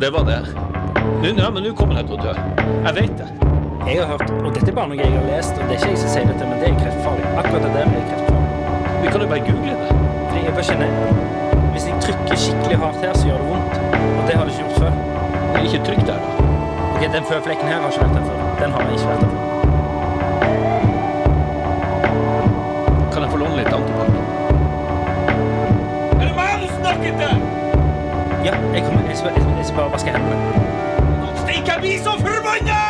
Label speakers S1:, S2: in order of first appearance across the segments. S1: det var det. Nå, ja, men nå kommer jeg til å dø. Jeg vet det.
S2: Jeg har hørt, og dette er bare noe jeg har lest, og det er ikke jeg som sier dette, men det er kreftfarlig. Akkurat det der blir kreftfarlig.
S1: Vi kan jo bare google det.
S2: Fordi jeg bare kjenner, hvis jeg trykker skikkelig hardt her, så gjør det vondt. Og det har det ikke gjort før.
S1: Men Ikke trykk der, da.
S2: Ok, den føflekken her har ikke vært der før. Den har jeg ikke vært der før.
S1: Kan jeg få låne litt antibac? Er det meg du snakker til?
S2: Ja, jeg kommer, jeg skal, jeg skal- jeg skal bare vaske hendene.
S1: Stikk, jeg blir så forbanna!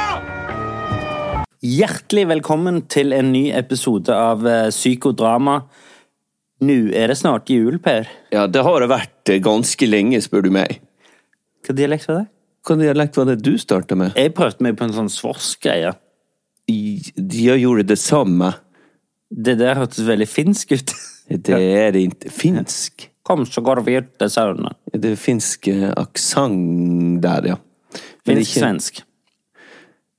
S2: Hjertelig velkommen til en ny episode av eh, Psykodrama. Nå er det snart jul, Per.
S3: Ja, det har det vært eh, ganske lenge, spør du meg.
S2: Hva dialekt var det?
S3: Hvilken dialekt var det du starta med?
S2: Jeg prøvde meg på en sånn svorsk-greie.
S3: I- De gjorde det samme.
S2: Det der hørtes veldig finsk ut.
S3: Det er ikke finsk.
S2: Kom, så går vi ut til sauna.
S3: Det er finsk eh, aksent der, ja. Men ikke-
S2: Finsk-svensk.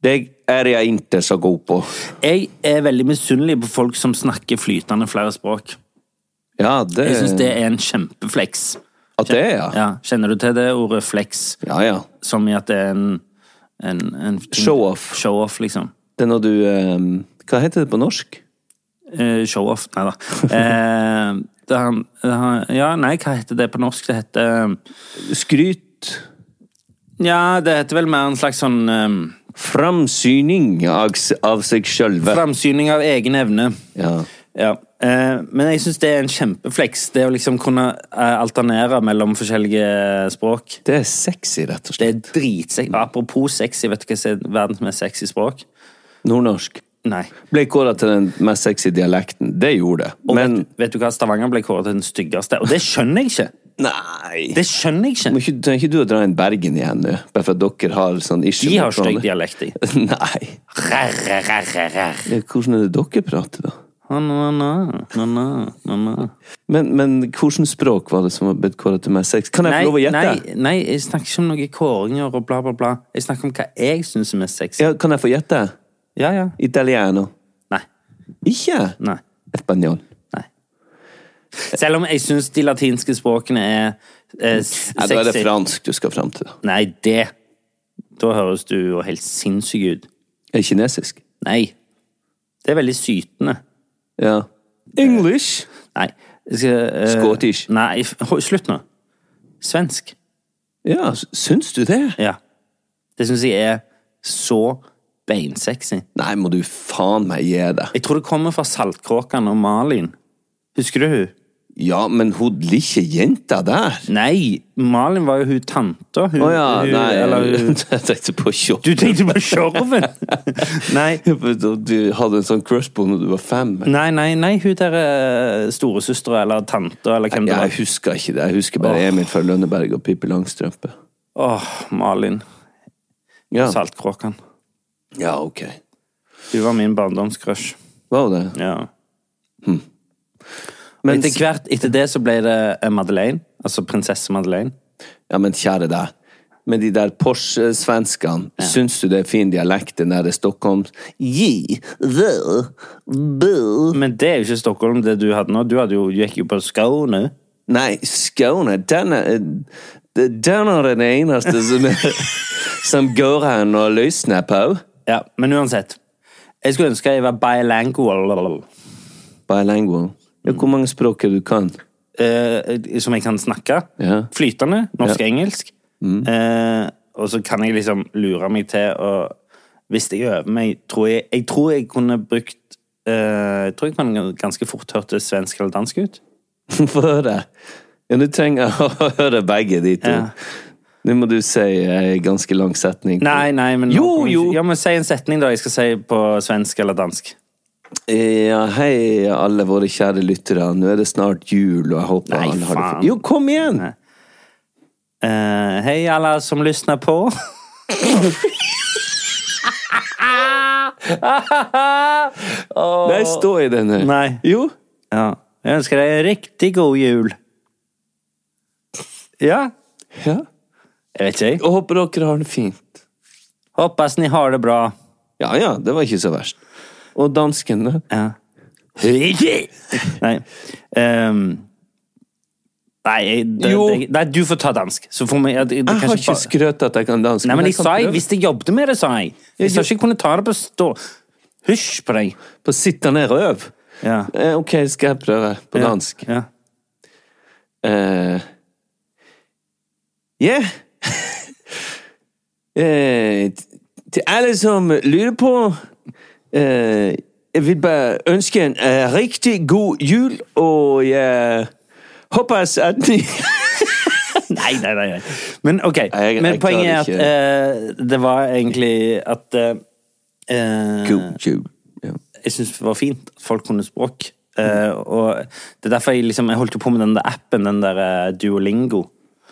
S3: Det er jeg ikke så god på.
S2: Jeg er veldig misunnelig på folk som snakker flytende flere språk.
S3: Ja, det
S2: Jeg syns det er en kjempeflex.
S3: At det er, ja.
S2: Ja, Kjenner du til det ordet flex?
S3: Ja, ja.
S2: Som i at det er en, en, en ting-
S3: Show-off.
S2: Show-off, liksom.
S3: Det er når du eh, Hva heter det på norsk?
S2: Eh, Show-off, nei da. Eh, det er han, det er han, ja, nei, hva heter det på norsk? Det heter eh,
S3: Skryt.
S2: Ja, det heter vel mer en slags sånn um,
S3: Framsyning av, s- av seg sjølve.
S2: Framsyning av egen evne.
S3: Ja.
S2: Ja, eh, men jeg syns det er en kjempeflex. Det å liksom kunne eh, alternere mellom forskjellige språk.
S3: Det er sexy, rett og
S2: Det
S3: slett.
S2: er dritsexy. Apropos sexy, vet du hva som er verdens mest sexy språk?
S3: Nordnorsk.
S2: Nei.
S3: Ble kåra til den mest sexy dialekten. Det gjorde det.
S2: Og
S3: Men
S2: vet, vet du hva? Stavanger ble kåret til den styggeste, og det skjønner jeg ikke!
S3: Nei!
S2: Det skjønner jeg
S3: Må
S2: ikke!
S3: ikke, trenger ikke du å dra inn Bergen igjen nå, bare for at dere har sånn issue?
S2: De har
S3: med Trondheim?
S2: stygg dialekt, de.
S3: Nei. Ja, Hvordan er det dere prater, da?
S2: Nei,
S3: Men, men hvilket språk var det som var blitt kåra til mest sex? Kan jeg få lov å gjette?
S2: nei, nei, jeg snakker ikke om noen kåringer og bla, bla, bla. Jeg snakker om hva jeg syns er mest sexy.
S3: Ja, kan jeg få gjette?
S2: Ja, ja.
S3: Italiano.
S2: Nei.
S3: Ikke?
S2: Nei.
S3: Spanjol.
S2: Nei. Selv om jeg syns de latinske språkene er, er s-
S3: Ja, da er det
S2: sexy.
S3: fransk du skal fram til.
S2: Nei, det Da høres du jo helt sinnssyk ut.
S3: Er det kinesisk?
S2: Nei. Det er veldig sytende.
S3: Ja. English?
S2: Nei. Jeg skal, eh,
S3: Scottish.
S2: Nei, f- hold- slutt nå. Svensk.
S3: Ja, s- syns du det?
S2: Ja. Det syns jeg er så beinsexy.
S3: Nei, må du faen meg gi det.
S2: Jeg tror det kommer fra Saltkråkan og Malin. Husker du hun?
S3: Ja, men hun lille jenta der
S2: Nei, Malin var jo hun tanta. Hun,
S3: Å ja,
S2: hun,
S3: nei
S2: eller hun-
S3: Jeg tenkte på Kjokk.
S2: Du tenkte på Sjorven! nei.
S3: Du hadde en sånn crush på henne da du var fem?
S2: Nei, nei, nei, hun der eh, storesøstre eller tante eller hvem det
S3: Ja, jeg
S2: var.
S3: husker ikke det. Jeg husker bare Emil fra Lønneberg og Pippi Langstrømpe.
S2: Åh, Malin.
S3: Ja.
S2: Saltkråkan.
S3: ja, ok.
S2: Hun var min barndomscrush.
S3: Var hun det?
S2: Ja.
S3: Men,
S2: etter hvert etter det så ble det eh, Madeleine. Altså prinsesse Madeleine.
S3: ja, men kjære deg. Men de der Porsche-svenskene, syns du det er fin dialekt, den der Stockholms Gi, vø, bø
S2: Men det er jo ikke Stockholm, det du hadde nå. Du hadde jo, gikk jo på Skåne.
S3: Nei, Skåne, den er Den er den eneste som, som går an å løsne på.
S2: Ja, men uansett. Jeg skulle ønske jeg var bilingual,
S3: Bilingual. Ja, hvor mange språk er det du kan?
S2: eh, som jeg kan snakke.
S3: Ja. Mm.
S2: Flytende. Norsk og engelsk. Eh, og så kan jeg liksom lure meg til å Hvis jeg øver meg, tror jeg Jeg tror jeg kunne brukt eh, Jeg tror jeg kunne ganske fort hørt det svensk eller dansk ut.
S3: Få høre. Ja, du trenger å høre begge de to.
S2: Ja.
S3: Nå må du si en ganske lang setning.
S2: Nei, nei, men
S3: Jo,
S2: nå kommer jeg-
S3: jo.
S2: Ja, men Si en setning, da. Jeg skal si på svensk eller dansk.
S3: Ja, hei, alle våre kjære lyttere. Nå er det snart jul, og jeg håper
S2: Nei,
S3: alle har det
S2: faen.
S3: fint. Jo, kom igjen!
S2: Eh, Hei, alle som lyssnar på.
S3: Nei, stå i den her.
S2: Nei.
S3: Jo.
S2: Ja. Jeg ønsker deg en riktig god jul. Ja.
S3: Ja.
S2: Jeg vet ikke, jeg.
S3: Og håper dere har det fint.
S2: Hoppas ni har det bra.
S3: Ja ja, det var ikke så verst. Og dansken, da?
S2: Ja. Nei. ehm, Nei, jeg, det,
S3: Jo.
S2: det, nei, du får ta dansk. Så får vi, ja, det, det
S3: Jeg
S2: kan
S3: har
S2: ikke
S3: ikke
S2: bare-
S3: skrøt at jeg kan dansk.
S2: Nei, men jeg
S3: kan
S2: sa jeg,
S3: prøve.
S2: hvis jeg jobbet med det, sa jeg. Jeg sa ikke jeg kunne ta det på stå. Hysj på deg.
S3: På sitt deg ned og øv.
S2: Ja.
S3: Eh, Ok, skal jeg prøve på dansk?
S2: Ja.
S3: Eh, Ja. Eh, t- Til alle som lurer på eh, Jeg vil bare ønske en eh, riktig god jul, og jeg håper at ni
S2: Nei, nei, nei. nei. Men ok,
S3: jeg-
S2: men
S3: jeg
S2: poenget er
S3: klarer
S2: at eh, det var egentlig at eh, eh,
S3: jul. Ja.
S2: jeg syns det var fint at folk kunne språk. Eh, og det er derfor jeg, liksom, jeg holdt jo på med den der appen, den der eh, Duolingo.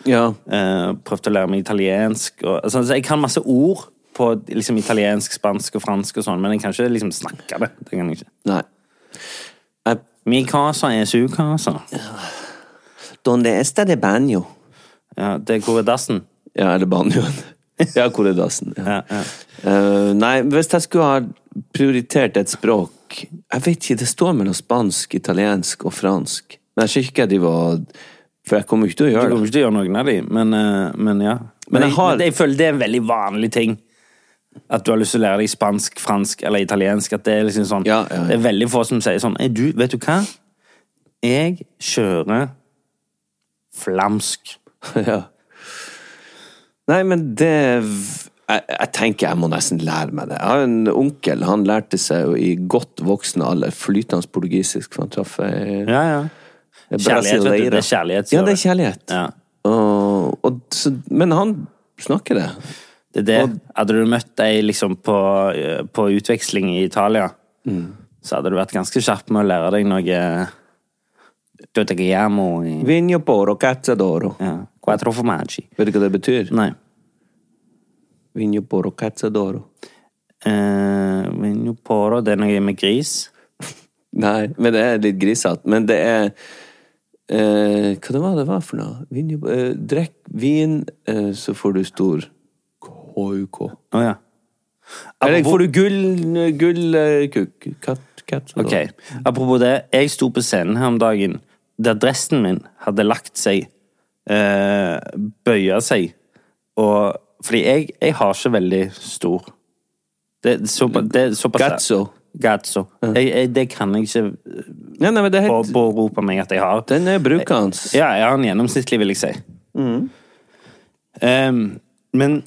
S3: ja.
S2: Eh, prøvde å lære meg italiensk. Og, altså, så jeg kan masse ord på liksom, italiensk, spansk og fransk, og sånn, men jeg kan ikke liksom, snakke det. det kan jeg ikke.
S3: Nei. Eh,
S2: Mi casa er su casa.
S3: Donde esta de banjo?
S2: Ja, det går i dassen.
S3: Ja, eller banjoen. Ja, hvor er dassen?
S2: Ja, ja.
S3: Eh, nei, hvis jeg skulle ha prioritert et språk Jeg vet ikke, det står mellom spansk, italiensk og fransk. Men jeg ser ikke hva de var For jeg kommer ikke til å
S2: Du
S3: gjøre det.
S2: kommer ikke til å gjøre noen av de, men, eh, men ja. Men,
S3: jeg
S2: jeg,
S3: har-
S2: men jeg føler det er en veldig vanlig ting. At du har lyst til å lære deg spansk, fransk eller italiensk. At det er liksom sånn
S3: Ja, ja, ja.
S2: Det er veldig få som sier sånn «Ei, du, Vet du hva? Jeg kjører flamsk.
S3: ja. Nei, men det jeg, jeg tenker jeg må nesten lære meg det. Jeg har en onkel, han lærte seg jo i godt voksen alder flytende portugisisk, for han traff ei
S2: Ja, ja. Kjærlighet, vet du. Det er kjærlighet.
S3: Ja,
S2: sier
S3: det er kjærlighet.
S2: Ja.
S3: Og, og, så, men han snakker det.
S2: Det er det. Hadde du møtt deg liksom på, eh, på utveksling i Italia,
S3: Mm.
S2: så hadde du vært ganske kjapp med å lære deg noe eh, Dotte Guillermo i
S3: Vinjo poro cazzadoro.
S2: ja. Eh, Quattro formaggi.
S3: Vet du hva det betyr?
S2: Nei.
S3: Vinjo poro cazzadoro.
S2: Eh, Vino poro, det er noe med gris.
S3: Nei, men det er litt grisete. Men det er eh, Hva det var det var for noe? Vinjo, eh, drekk vin, eh, så får du stor KUK.
S2: Å ja.
S3: Eller
S2: Apropos-
S3: får du gull gullkukk?
S2: Ok, Apropos det, jeg sto på scenen her om dagen der dressen min hadde lagt seg, eh, bøya seg, og Fordi jeg, jeg har ikke veldig stor Det er såpa- det er såpass
S3: Gatso.
S2: Gatso. Jeg, jeg, det kan jeg ikke
S3: Nei, nei, men det er
S2: på-
S3: helt
S2: påberope meg at jeg har.
S3: Den er bruket hans.
S2: Ja, jeg har en gjennomsnittlig, vil jeg si. Mm. Ehm, men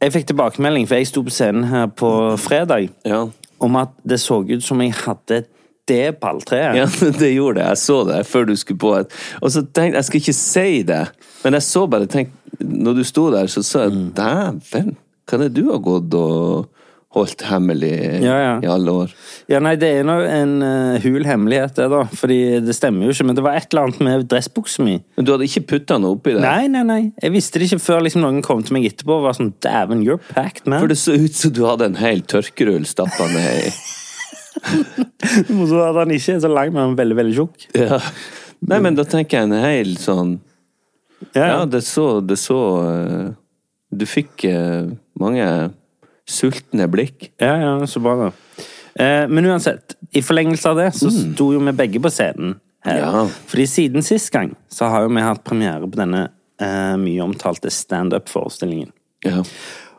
S2: jeg fikk tilbakemelding, for jeg sto på scenen her på fredag,
S3: Ja.
S2: om at det så ut som jeg hadde det balltreet.
S3: Ja, det gjorde det. Jeg så det før du skulle på. et- Og så tenkte jeg, jeg skal ikke si det, men jeg så bare tenk, Når du sto der, så sa jeg dæven, hva er det du har gått og holdt hemmelig
S2: Ja, ja.
S3: i alle år?
S2: Ja, nei, det er nå en eh, hul hemmelighet, det, da. Fordi det stemmer jo ikke. Men det var et eller annet med dressbuksa mi.
S3: Men du hadde ikke putta noe oppi det?
S2: Nei, nei, nei. Jeg visste det ikke før liksom, noen kom til meg etterpå og var sånn Dæven, you're packed, man.
S3: For det så ut som du hadde en hel tørkerull stappa ned i
S2: Og så hadde han ikke så lang, men han var veldig, veldig tjukk.
S3: ja. Nei, men da tenker jeg en hel sånn Ja, det så, det så eh, Du fikk eh, mange sultne blikk.
S2: Ja, ja, så bra da. Eh, men uansett, i forlengelse av det, så sto jo vi begge på scenen her.
S3: Ja.
S2: Fordi siden sist gang, så har jo vi hatt premiere på denne eh, mye omtalte stand-up-forestillingen.
S3: Ja.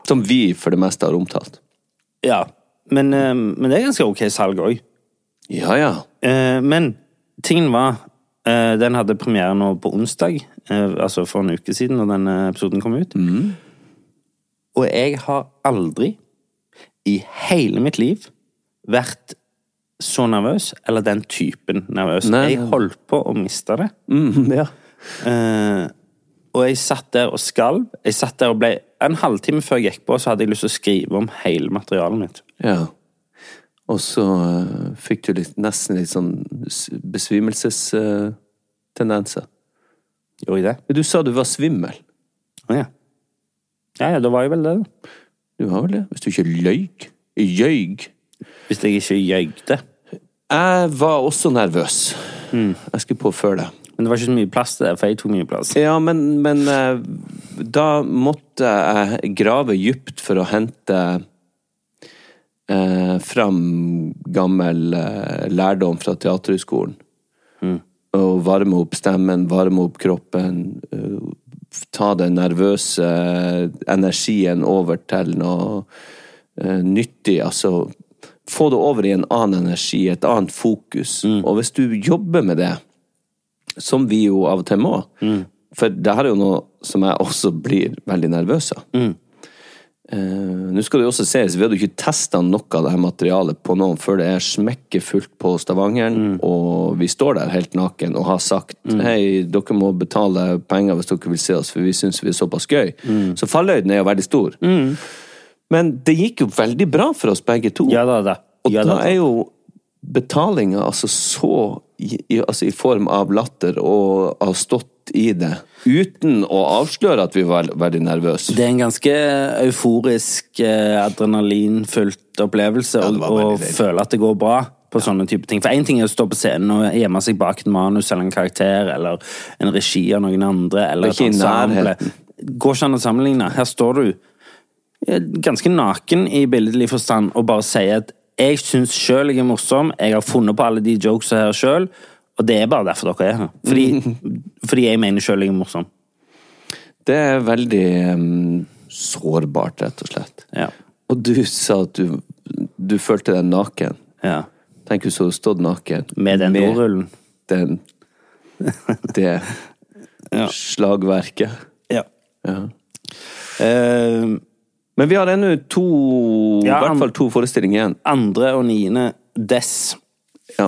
S3: Som vi for det meste har omtalt.
S2: Ja, men, eh, men det er ganske ok salg òg.
S3: Ja, ja.
S2: Eh, men tingen var eh, Den hadde premiere nå på onsdag, eh, altså for en uke siden, når denne episoden kom ut.
S3: Mm.
S2: Og jeg har aldri i hele mitt liv vært så nervøs, eller den typen nervøs.
S3: Nei, nei.
S2: Jeg holdt på å miste det.
S3: Mm.
S2: Eh, og jeg satt der og skalv. Jeg satt der og ble En halvtime før jeg gikk på, så hadde jeg lyst til å skrive om hele materialet mitt.
S3: Ja. Og så eh, fikk du litt, nesten litt sånn besvimelsestendenser.
S2: Gjorde jeg det?
S3: du sa du var svimmel.
S2: Å ja. Ja, ja, da var jeg vel det, da.
S3: Du var vel det? Hvis du ikke løy. Jøy.
S2: Hvis jeg ikke gjøgde.
S3: Jeg var også nervøs. Jeg skulle på før det.
S2: Men det var ikke så mye plass til det, for jeg tok mye plass.
S3: Ja, men, men eh, da måtte jeg grave dypt for å hente eh, fram gammel eh, lærdom fra Teaterhøgskolen. å varme opp stemmen, varme opp kroppen. eh, Ta den nervøse eh, energien over til noe eh, nyttig. Altså få det over i en annen energi, et annet fokus. Og hvis du jobber med det, som vi jo av og til må. For det her er jo noe som jeg også blir veldig nervøs av. Eh, Nå skal det jo også ses, vi hadde jo ikke testa noe av det her materialet på noen før det er smekkefullt på Stavangeren, og vi står der helt naken og har sagt hei, dere må betale penger hvis dere vil se oss, for vi syns vi er såpass gøy. Så falløyden er jo veldig stor. Men det gikk jo veldig bra for oss begge to.
S2: Ja da, da.
S3: Og
S2: Ja,
S3: da
S2: da, da.
S3: er jo betalinga altså så i, i, altså i form av latter og har stått i det, uten å avsløre at vi var veldig nervøse.
S2: Det er en ganske euforisk, eh, adrenalinfylt opplevelse å
S3: det var
S2: å
S3: veldig deilig.
S2: føle at det går bra på sånne type ting. For én ting er å stå på scenen og gjemme seg bak et manus eller en karakter eller en regi av noen andre eller
S3: Og
S2: et
S3: ikke i
S2: ensemble.
S3: nærheten.
S2: Går ikke an å sammenligne. Her står du eh, ganske naken i billedlig forstand og bare sier at jeg syns sjøl jeg er morsom, jeg har funnet på alle de jokesa her sjøl, og det er bare derfor dere er her. Fordi, fordi jeg mener sjøl jeg er morsom.
S3: Det er veldig em, sårbart, rett og slett.
S2: Ja.
S3: Og du sa at du, du følte deg naken.
S2: ja.
S3: Tenk hvis du hadde stått naken.
S2: Med den dorullen.
S3: den- det
S2: Ja.
S3: slagverket.
S2: Ja.
S3: Ja.
S2: Eh,
S3: Men vi har ennå to,
S2: Ja,
S3: i
S2: han-
S3: hvert fall to forestillinger igjen.
S2: andre og niende dess.
S3: Ja.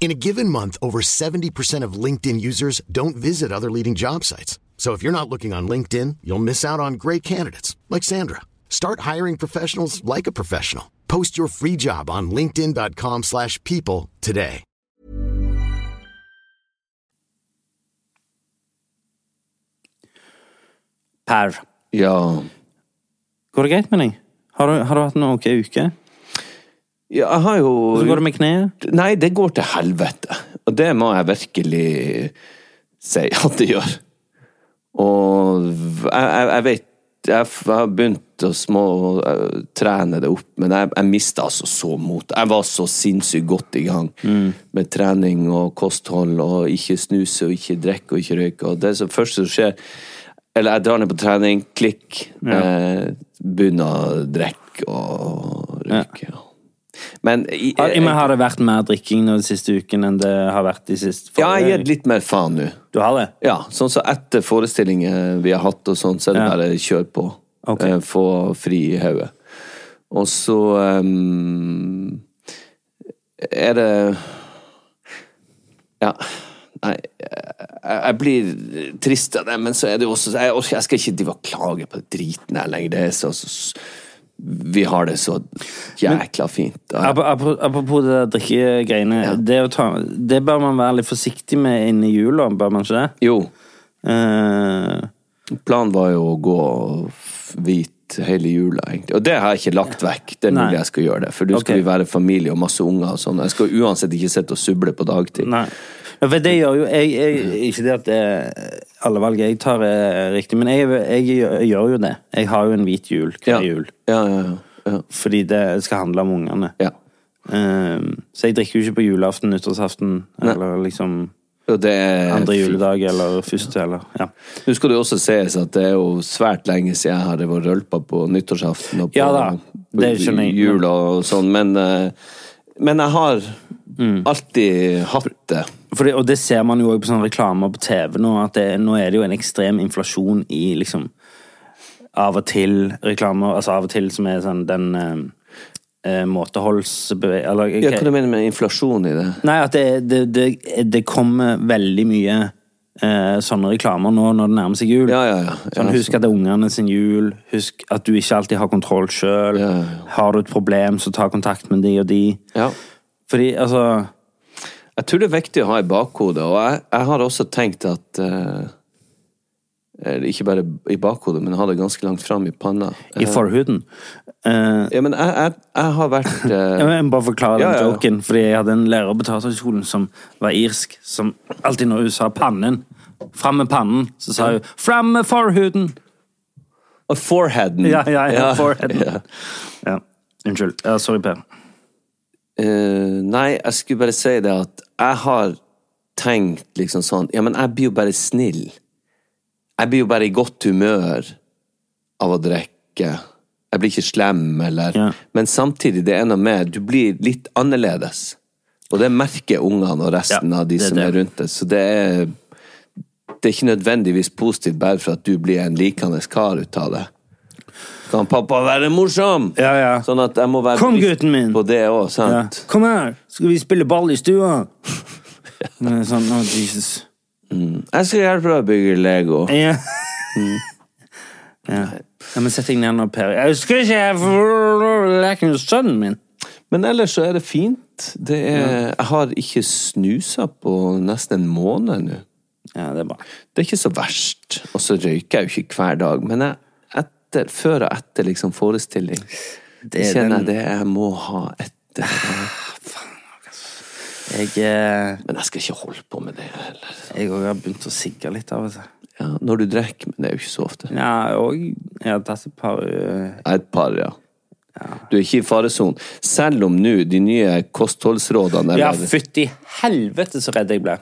S4: In a given month, over 70% of LinkedIn users don't visit other leading job sites. So if you're not looking on LinkedIn, you'll miss out on great candidates like Sandra. Start hiring professionals like a professional. Post your free job on linkedin.com/people slash people today.
S2: Per.
S3: Ja.
S2: Går det greit med deg? Har du, har du hatt en ok uke?
S3: Ja, jeg har jo
S2: Hvordan går det med kneet?
S3: Nei, det går til helvete. Og det må jeg virkelig si at det gjør. Og jeg, jeg, jeg vet jeg, f- jeg har begynt å små eh, trene det opp, men jeg, jeg mista altså så mot. Jeg var så sinnssykt godt i gang med trening og kosthold og ikke snuse og ikke drikke og ikke røyke. Og det som første som skjer Eller jeg drar ned på trening, klikk, eh, begynner å drikke og røyke. Men i,
S2: Har, men har det vært mer drikking nå de siste uken enn det har vært de siste
S3: Ja, jeg gir litt mer faen nå.
S2: Du har det?
S3: Ja, sånn så etter forestillinger vi har hatt, og sånn, så er det
S2: Ja.
S3: bare kjør på.
S2: Ok.
S3: Eh, Få fri i hodet. Og så ehm, er det Ja. Nei, jeg jeg blir trist av det, men så er det jo også Jeg, orker- jeg skal ikke drive og klage på driten her lenger. Det er så, så Vi har det så jækla fint. Og jeg-
S2: Ap- ap- Apropos det der drikkegreiene. Det, å ta, det bør man være litt forsiktig med inni jula, bør man ikke det?
S3: Jo.
S2: Eh,
S3: Planen var jo å gå f- hvit hele jula, egentlig. Og det har jeg ikke lagt vekk. Det er
S2: Nei.
S3: mulig jeg skal gjøre det, for nå skal
S2: Ok.
S3: vi være familie og masse unger og sånn. Jeg skal uansett ikke sitte og suble på dagtid.
S2: Nei. Ja, for det gjør jo jeg, jeg, Ikke det at det, alle valg jeg tar, er riktig, men jeg, jeg, gjør- jeg gjør jo det. Jeg har jo en hvit jul hver
S3: Ja.
S2: jul.
S3: Ja, ja, ja.
S2: Fordi det skal handle om ungene.
S3: ja.
S2: Ehm, så jeg drikker jo ikke på julaften, nyttårsaften eller liksom
S3: Og det er
S2: andre
S3: fint.
S2: juledag eller første eller ja.
S3: Nå skal det jo også sies at det er jo svært lenge siden jeg har drevet og rølpa på nyttårsaften og på
S2: Ja da, det skjønner jeg.
S3: jul og sånn, men, eh, men jeg har
S2: Mm.
S3: alltid hatt det.
S2: For det, og det ser man jo òg på sånne reklamer på TV nå, at det, nå er det jo en ekstrem inflasjon i liksom av og til reklamer, altså av og til som er sånn den eh, eh, måteholdsbeve... Eller
S3: Ja,
S2: ok.
S3: hva du mener med inflasjon i det?
S2: Nei, at det, det, det, det kommer veldig mye eh, sånne reklamer nå når det nærmer seg jul.
S3: Ja, ja, ja.
S2: Sånn,
S3: Ja,
S2: husk at det er ungene sin jul. Husk at du ikke alltid har kontroll sjøl.
S3: Ja, ja, ja.
S2: Har du et problem, så ta kontakt med de og de.
S3: Ja.
S2: Fordi, altså
S3: Jeg tror det er viktig å ha i bakhodet, og jeg, jeg har også tenkt at eh, eller Ikke bare i bakhodet, men ha det ganske langt fram i panna. Eh,
S2: I forhuden. Eh,
S3: Ja, men jeg, jeg, jeg har vært eh,
S2: jeg må bare forklare
S3: Ja,
S2: den
S3: ja, ja.
S2: joken, fordi jeg hadde en lærer på teaterhøgskolen som var irsk, som alltid når hun sa 'pannen', fram med pannen, så sa hun 'fram med forhuden'.
S3: Og Foreheaden.
S2: Ja, ja, ja, forhuden.
S3: ja.
S2: Ja. Unnskyld. Ja, sorry, Per.
S3: Eh, nei, jeg skulle bare si det at jeg har tenkt liksom sånn Ja, men jeg blir jo bare snill. Jeg blir jo bare i godt humør av å drikke. Jeg blir ikke slem, eller
S2: Ja.
S3: Men samtidig, det er noe med Du blir litt annerledes. Og det merker ungene og resten
S2: Ja,
S3: av de
S2: det er
S3: som
S2: det.
S3: er rundt deg. Så det er Det er ikke nødvendigvis positivt bare for at du blir en likende kar ut av det. Kan pappa være morsom?
S2: Ja, ja.
S3: Sånn at jeg må være
S2: Kom,
S3: bevisst
S2: gutten min!
S3: på det òg,
S2: Ja.
S3: sant?
S2: Kom her, skal vi spille ball i stua? Men det er sånn, oh, Jesus.
S3: Jeg skal hjelpe deg å bygge Lego.
S2: Ja. ja. ja men sett deg ned nå, Per. Jeg husker ikke jeg for- leken hos sønnen min.
S3: Men ellers så er det fint. Det er, jeg har ikke snusa på nesten en måned nå.
S2: Ja, det er bra.
S3: Det er ikke så verst. Og så røyker jeg jo ikke hver dag, men jeg, etter, før og etter liksom forestilling
S2: er
S3: kjenner
S2: den-
S3: jeg det jeg må ha etter.
S2: Jeg, eh,
S3: Men jeg skal ikke holde på med det heller.
S2: jeg også har begynt å sigge litt av og til.
S3: Ja, når du drikker, men det er jo ikke så ofte.
S2: Ja, og jeg har tatt et par eh,
S3: Ja, Et par, ja. Du er ikke i faresonen. Selv om nå de nye kostholdsrådene
S2: Ja,
S3: eller-
S2: fytti helvete så redd jeg ble.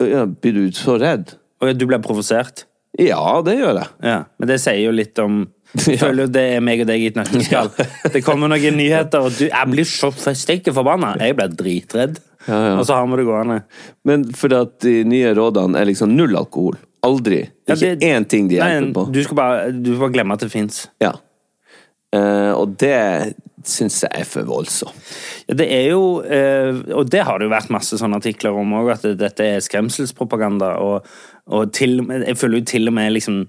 S3: Ja, Blir du så redd?
S2: Og du ble provosert?
S3: Ja, det gjør jeg.
S2: Ja, men det sier jo litt om Jeg
S3: Ja.
S2: føler jo det er meg og deg i et nøtteskall. Det kommer noen nyheter, og du, jeg blir så steike forbanna. Jeg blir dritredd. Og så har vi det gående.
S3: Men for at de nye rådene er liksom null alkohol. Aldri. Det er ikke én ting de hjelper på.
S2: Du skal bare, du skal bare glemme at det fins.
S3: Ja. Eh, og det syns jeg er for voldsomt.
S2: Det er jo, eh, og det har det jo vært masse sånne artikler om òg, at dette er skremselspropaganda. Og, og til, jeg føler jo til og med liksom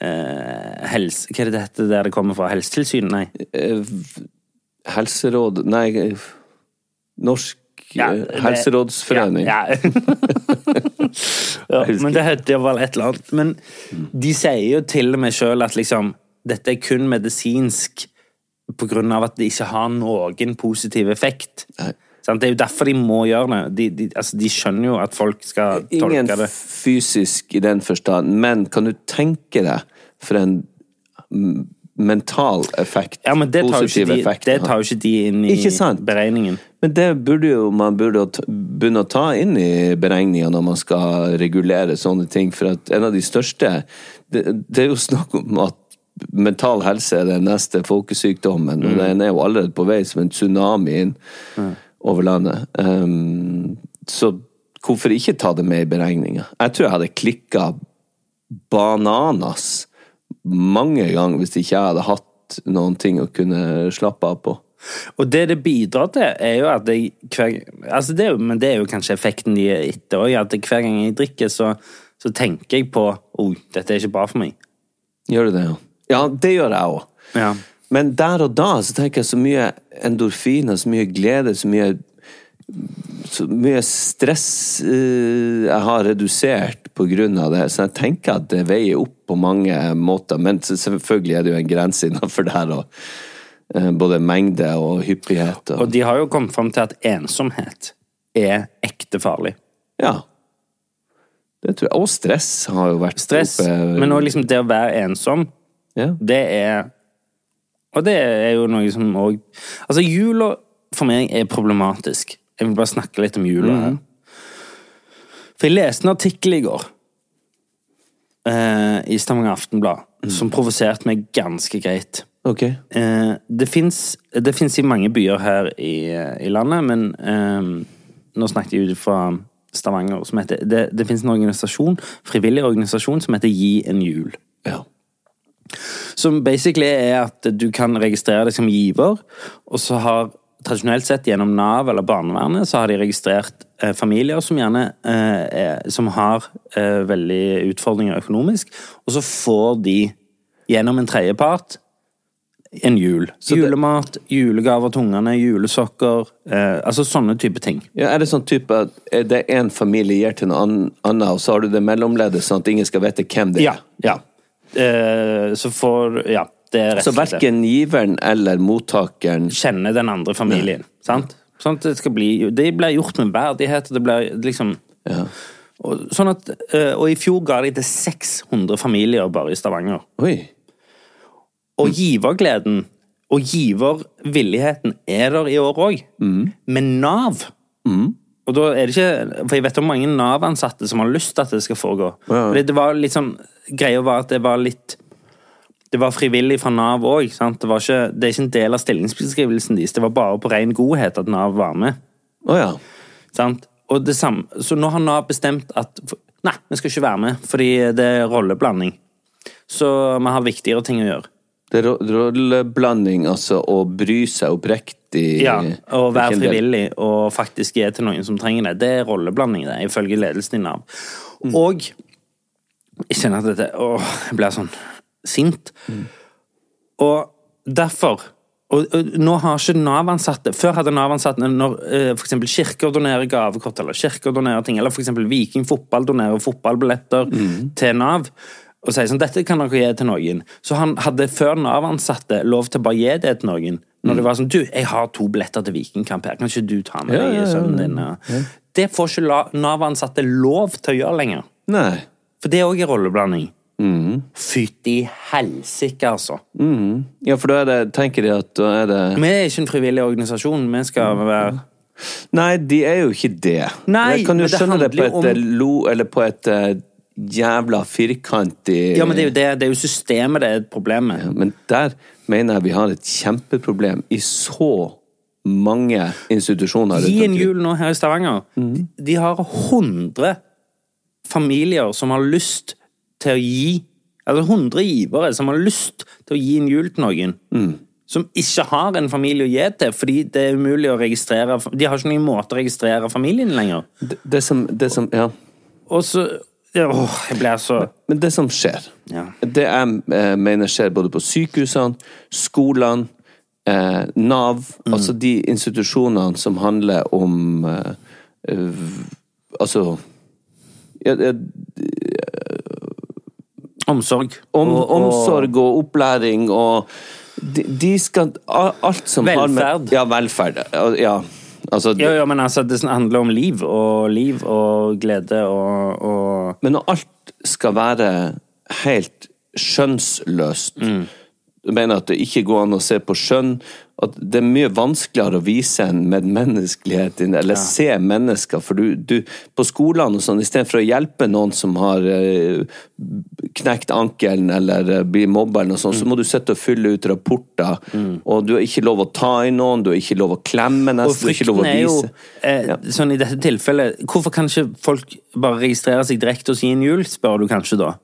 S2: eh, helse, Hva er det det heter der det kommer fra? Helsetilsynet? Nei.
S3: Eh, helseråd Nei, eh, Norsk
S2: Ja,
S3: eh,
S2: det-
S3: helserådsforening.
S2: Ja, ja. ja, men det heter vel et eller annet. Men de sier jo til og med sjøl at liksom dette er kun medisinsk på grunn av at det ikke har noen positiv effekt.
S3: Nei.
S2: Sant? Det er jo derfor de må gjøre det. De, de, altså, de skjønner jo at folk skal
S3: Ingen
S2: tolke det.
S3: fysisk i den forstand, men kan du tenke deg for en mm, mental effekt?
S2: Ja, men det tar, jo ikke
S3: positiv
S2: de,
S3: effekt
S2: det
S3: det har?
S2: tar jo ikke de inn i
S3: Ikke sant?
S2: beregningen.
S3: Men det burde jo man burde å ta- begynne å ta inn i beregninga når man skal regulere sånne ting, for at en av de største Det, det er jo snakk om at mental helse er den neste folkesykdommen, og den er jo allerede på vei som en tsunami inn over landet. Ehm, så hvorfor ikke ta det med i beregninga? Jeg tror jeg hadde klikka bananas mange ganger hvis ikke jeg hadde hatt noen ting å kunne slappe av på.
S2: Og det det bidrar til, er jo at jeg hver altså det, er jo- Men det er jo kanskje effekten de er etter òg. At hver gang jeg drikker, så, så tenker jeg på Oi, dette er ikke bra for meg.
S3: Gjør du det, ja? Ja, det gjør jeg òg.
S2: Ja.
S3: Men der og da så tenker jeg så mye endorfiner, så mye glede, så mye så mye stress eh, jeg har redusert på grunn av det. Så jeg tenker at det veier opp på mange måter, men så- selvfølgelig er det jo en grense innenfor der òg. Både mengde og hyppighet og,
S2: Og de har jo kommet fram til at ensomhet er ekte farlig.
S3: Ja. Det tror jeg. Og stress har jo vært
S2: Stress.
S3: oppe.
S2: Men òg liksom det å være ensom,
S3: ja.
S2: det er Og det er jo noe som òg Altså, jula for meg er problematisk. Jeg vil bare snakke litt om jula her. For jeg leste en artikkel i går eh, i Stavanger Aftenblad som provoserte meg ganske greit.
S3: Ok.
S2: Eh, det fins det finnes i mange byer her i, i landet, men eh, nå snakket jeg ut fra Stavanger. Som heter, det det fins en organisasjon, frivillig organisasjon som heter Gi en jul.
S3: Ja.
S2: Som basically er at du kan registrere deg som giver, og så har tradisjonelt sett gjennom Nav eller barnevernet så har de registrert eh, familier som gjerne eh, er, som har eh, veldig utfordringer økonomisk, og så får de gjennom en tredjepart en jul.
S3: det-
S2: Julemat, julegaver til ungene, julesokker eh, Altså sånne type ting.
S3: Ja, er det sånn type at er det én familie gir til en annen, annen, og så har du det mellomleddet, sånn at ingen skal vite hvem det
S2: Ja.
S3: er?
S2: ja. Eh, så får Ja, det er rett
S3: Så
S2: og slett det.
S3: verken giveren eller mottakeren
S2: kjenne den andre familien. Sant? Sånn at det skal bli Det blir gjort med verdighet, og det blir liksom og, Sånn at eh, Og i fjor ga de til 600 familier bare i Stavanger.
S3: Oi.
S2: Og givergleden og givervilligheten er der i år òg. Med Nav. Og da er det ikke For jeg vet om mange Nav-ansatte som har lyst til at det skal foregå. Fordi det var litt sånn Greia var at det var litt det var frivillig fra Nav òg. Det, var ikke- det er ikke en del av stillingsbeskrivelsen deres. Det var bare på ren godhet at Nav var med.
S3: Å ja.
S2: Sant? Og det samme, så nå har Nav bestemt at Nei, vi skal ikke være med, fordi det er rolleblanding. Så vi har viktigere ting å gjøre.
S3: Det er ro- rolleblanding, altså, å bry seg oppriktig
S2: Ja, og
S3: Det er
S2: være
S3: ikke en del-
S2: frivillig og faktisk gi til noen som trenger det. Det er rolleblanding, det, ifølge ledelsen i Nav. Og jeg kjenner at dette Åh, jeg blir sånn sint. Og derfor og, og nå har ikke Nav-ansatte Før hadde Nav-ansatte når eh, for eksempel kirker donerer gavekort, eller kirker donerer ting, eller for eksempel Viking fotball donerer fotballbilletter til Nav, og sier sånn 'Dette kan dere gi til noen'. Så han hadde før Nav-ansatte lov til å bare gi det til noen. Når det var sånn 'Du, jeg har to billetter til Vikingkamp her, kan ikke du ta med deg sønnen din?' og- Det får ikke la- Nav-ansatte lov til å gjøre lenger.
S3: Nei.
S2: For det òg er rolleblanding. Fytti helsike, altså.
S3: Ja, for da er det, tenker de at da er det
S2: Vi er ikke en frivillig organisasjon. Vi skal være
S3: Nei, de er jo ikke det.
S2: Nei,
S3: jeg kan jo
S2: men det
S3: skjønne det på
S2: handler
S3: et
S2: jo om-
S3: eh, lo Eller på et eh, jævla firkantig
S2: Ja, men det er jo, det, det er jo systemet det er et problem med.
S3: Men der mener jeg vi har et kjempeproblem i så mange institusjoner. rundt
S2: Gi en
S3: omkring.
S2: jul nå her i Stavanger. De, de har 100 familier som har lyst til å gi Altså 100 givere som har lyst til å gi en jul til noen. Som ikke har en familie å gi til, fordi det er umulig å registrere De har ikke noen måte å registrere familien lenger.
S3: Det, det, som, det som Ja.
S2: Og så ja, Åh, jeg blir så
S3: Men det som skjer,
S2: Ja.
S3: det jeg eh, mener skjer både på sykehusene, skolene, eh, Nav,
S2: Mm.
S3: altså de institusjonene som handler om eh, eh, Altså ja, ja,
S2: Omsorg.
S3: om,
S2: og- og-
S3: Omsorg og opplæring og de, de skal a- Alt som har
S2: Velferd.
S3: med Ja, velferd. Ja, Ja. Altså,
S2: Jo, jo, men altså, det handler om liv, og liv og glede og, og
S3: Men når alt skal være helt skjønnsløst
S2: Mm.
S3: Du mener at det ikke går an å se på skjønn. At det er mye vanskeligere å vise en medmenneskelighet, eller se mennesker. For du, du På skolene og sånn, istedenfor å hjelpe noen som har eh, knekt ankelen eller eh, blir mobba, eller noe sånt,
S2: Mm.
S3: så må du sitte og fylle ut rapporter. Og du har ikke lov å ta i noen, du har ikke lov å klemme
S2: Og
S3: nesten, du har Altså, ikke lov
S2: frykten
S3: å
S2: er jo,
S3: vise.
S2: eh,
S3: Ja.
S2: sånn i dette tilfellet Hvorfor kan ikke folk bare registrere seg direkte hos Yin Jul, spør du kanskje da?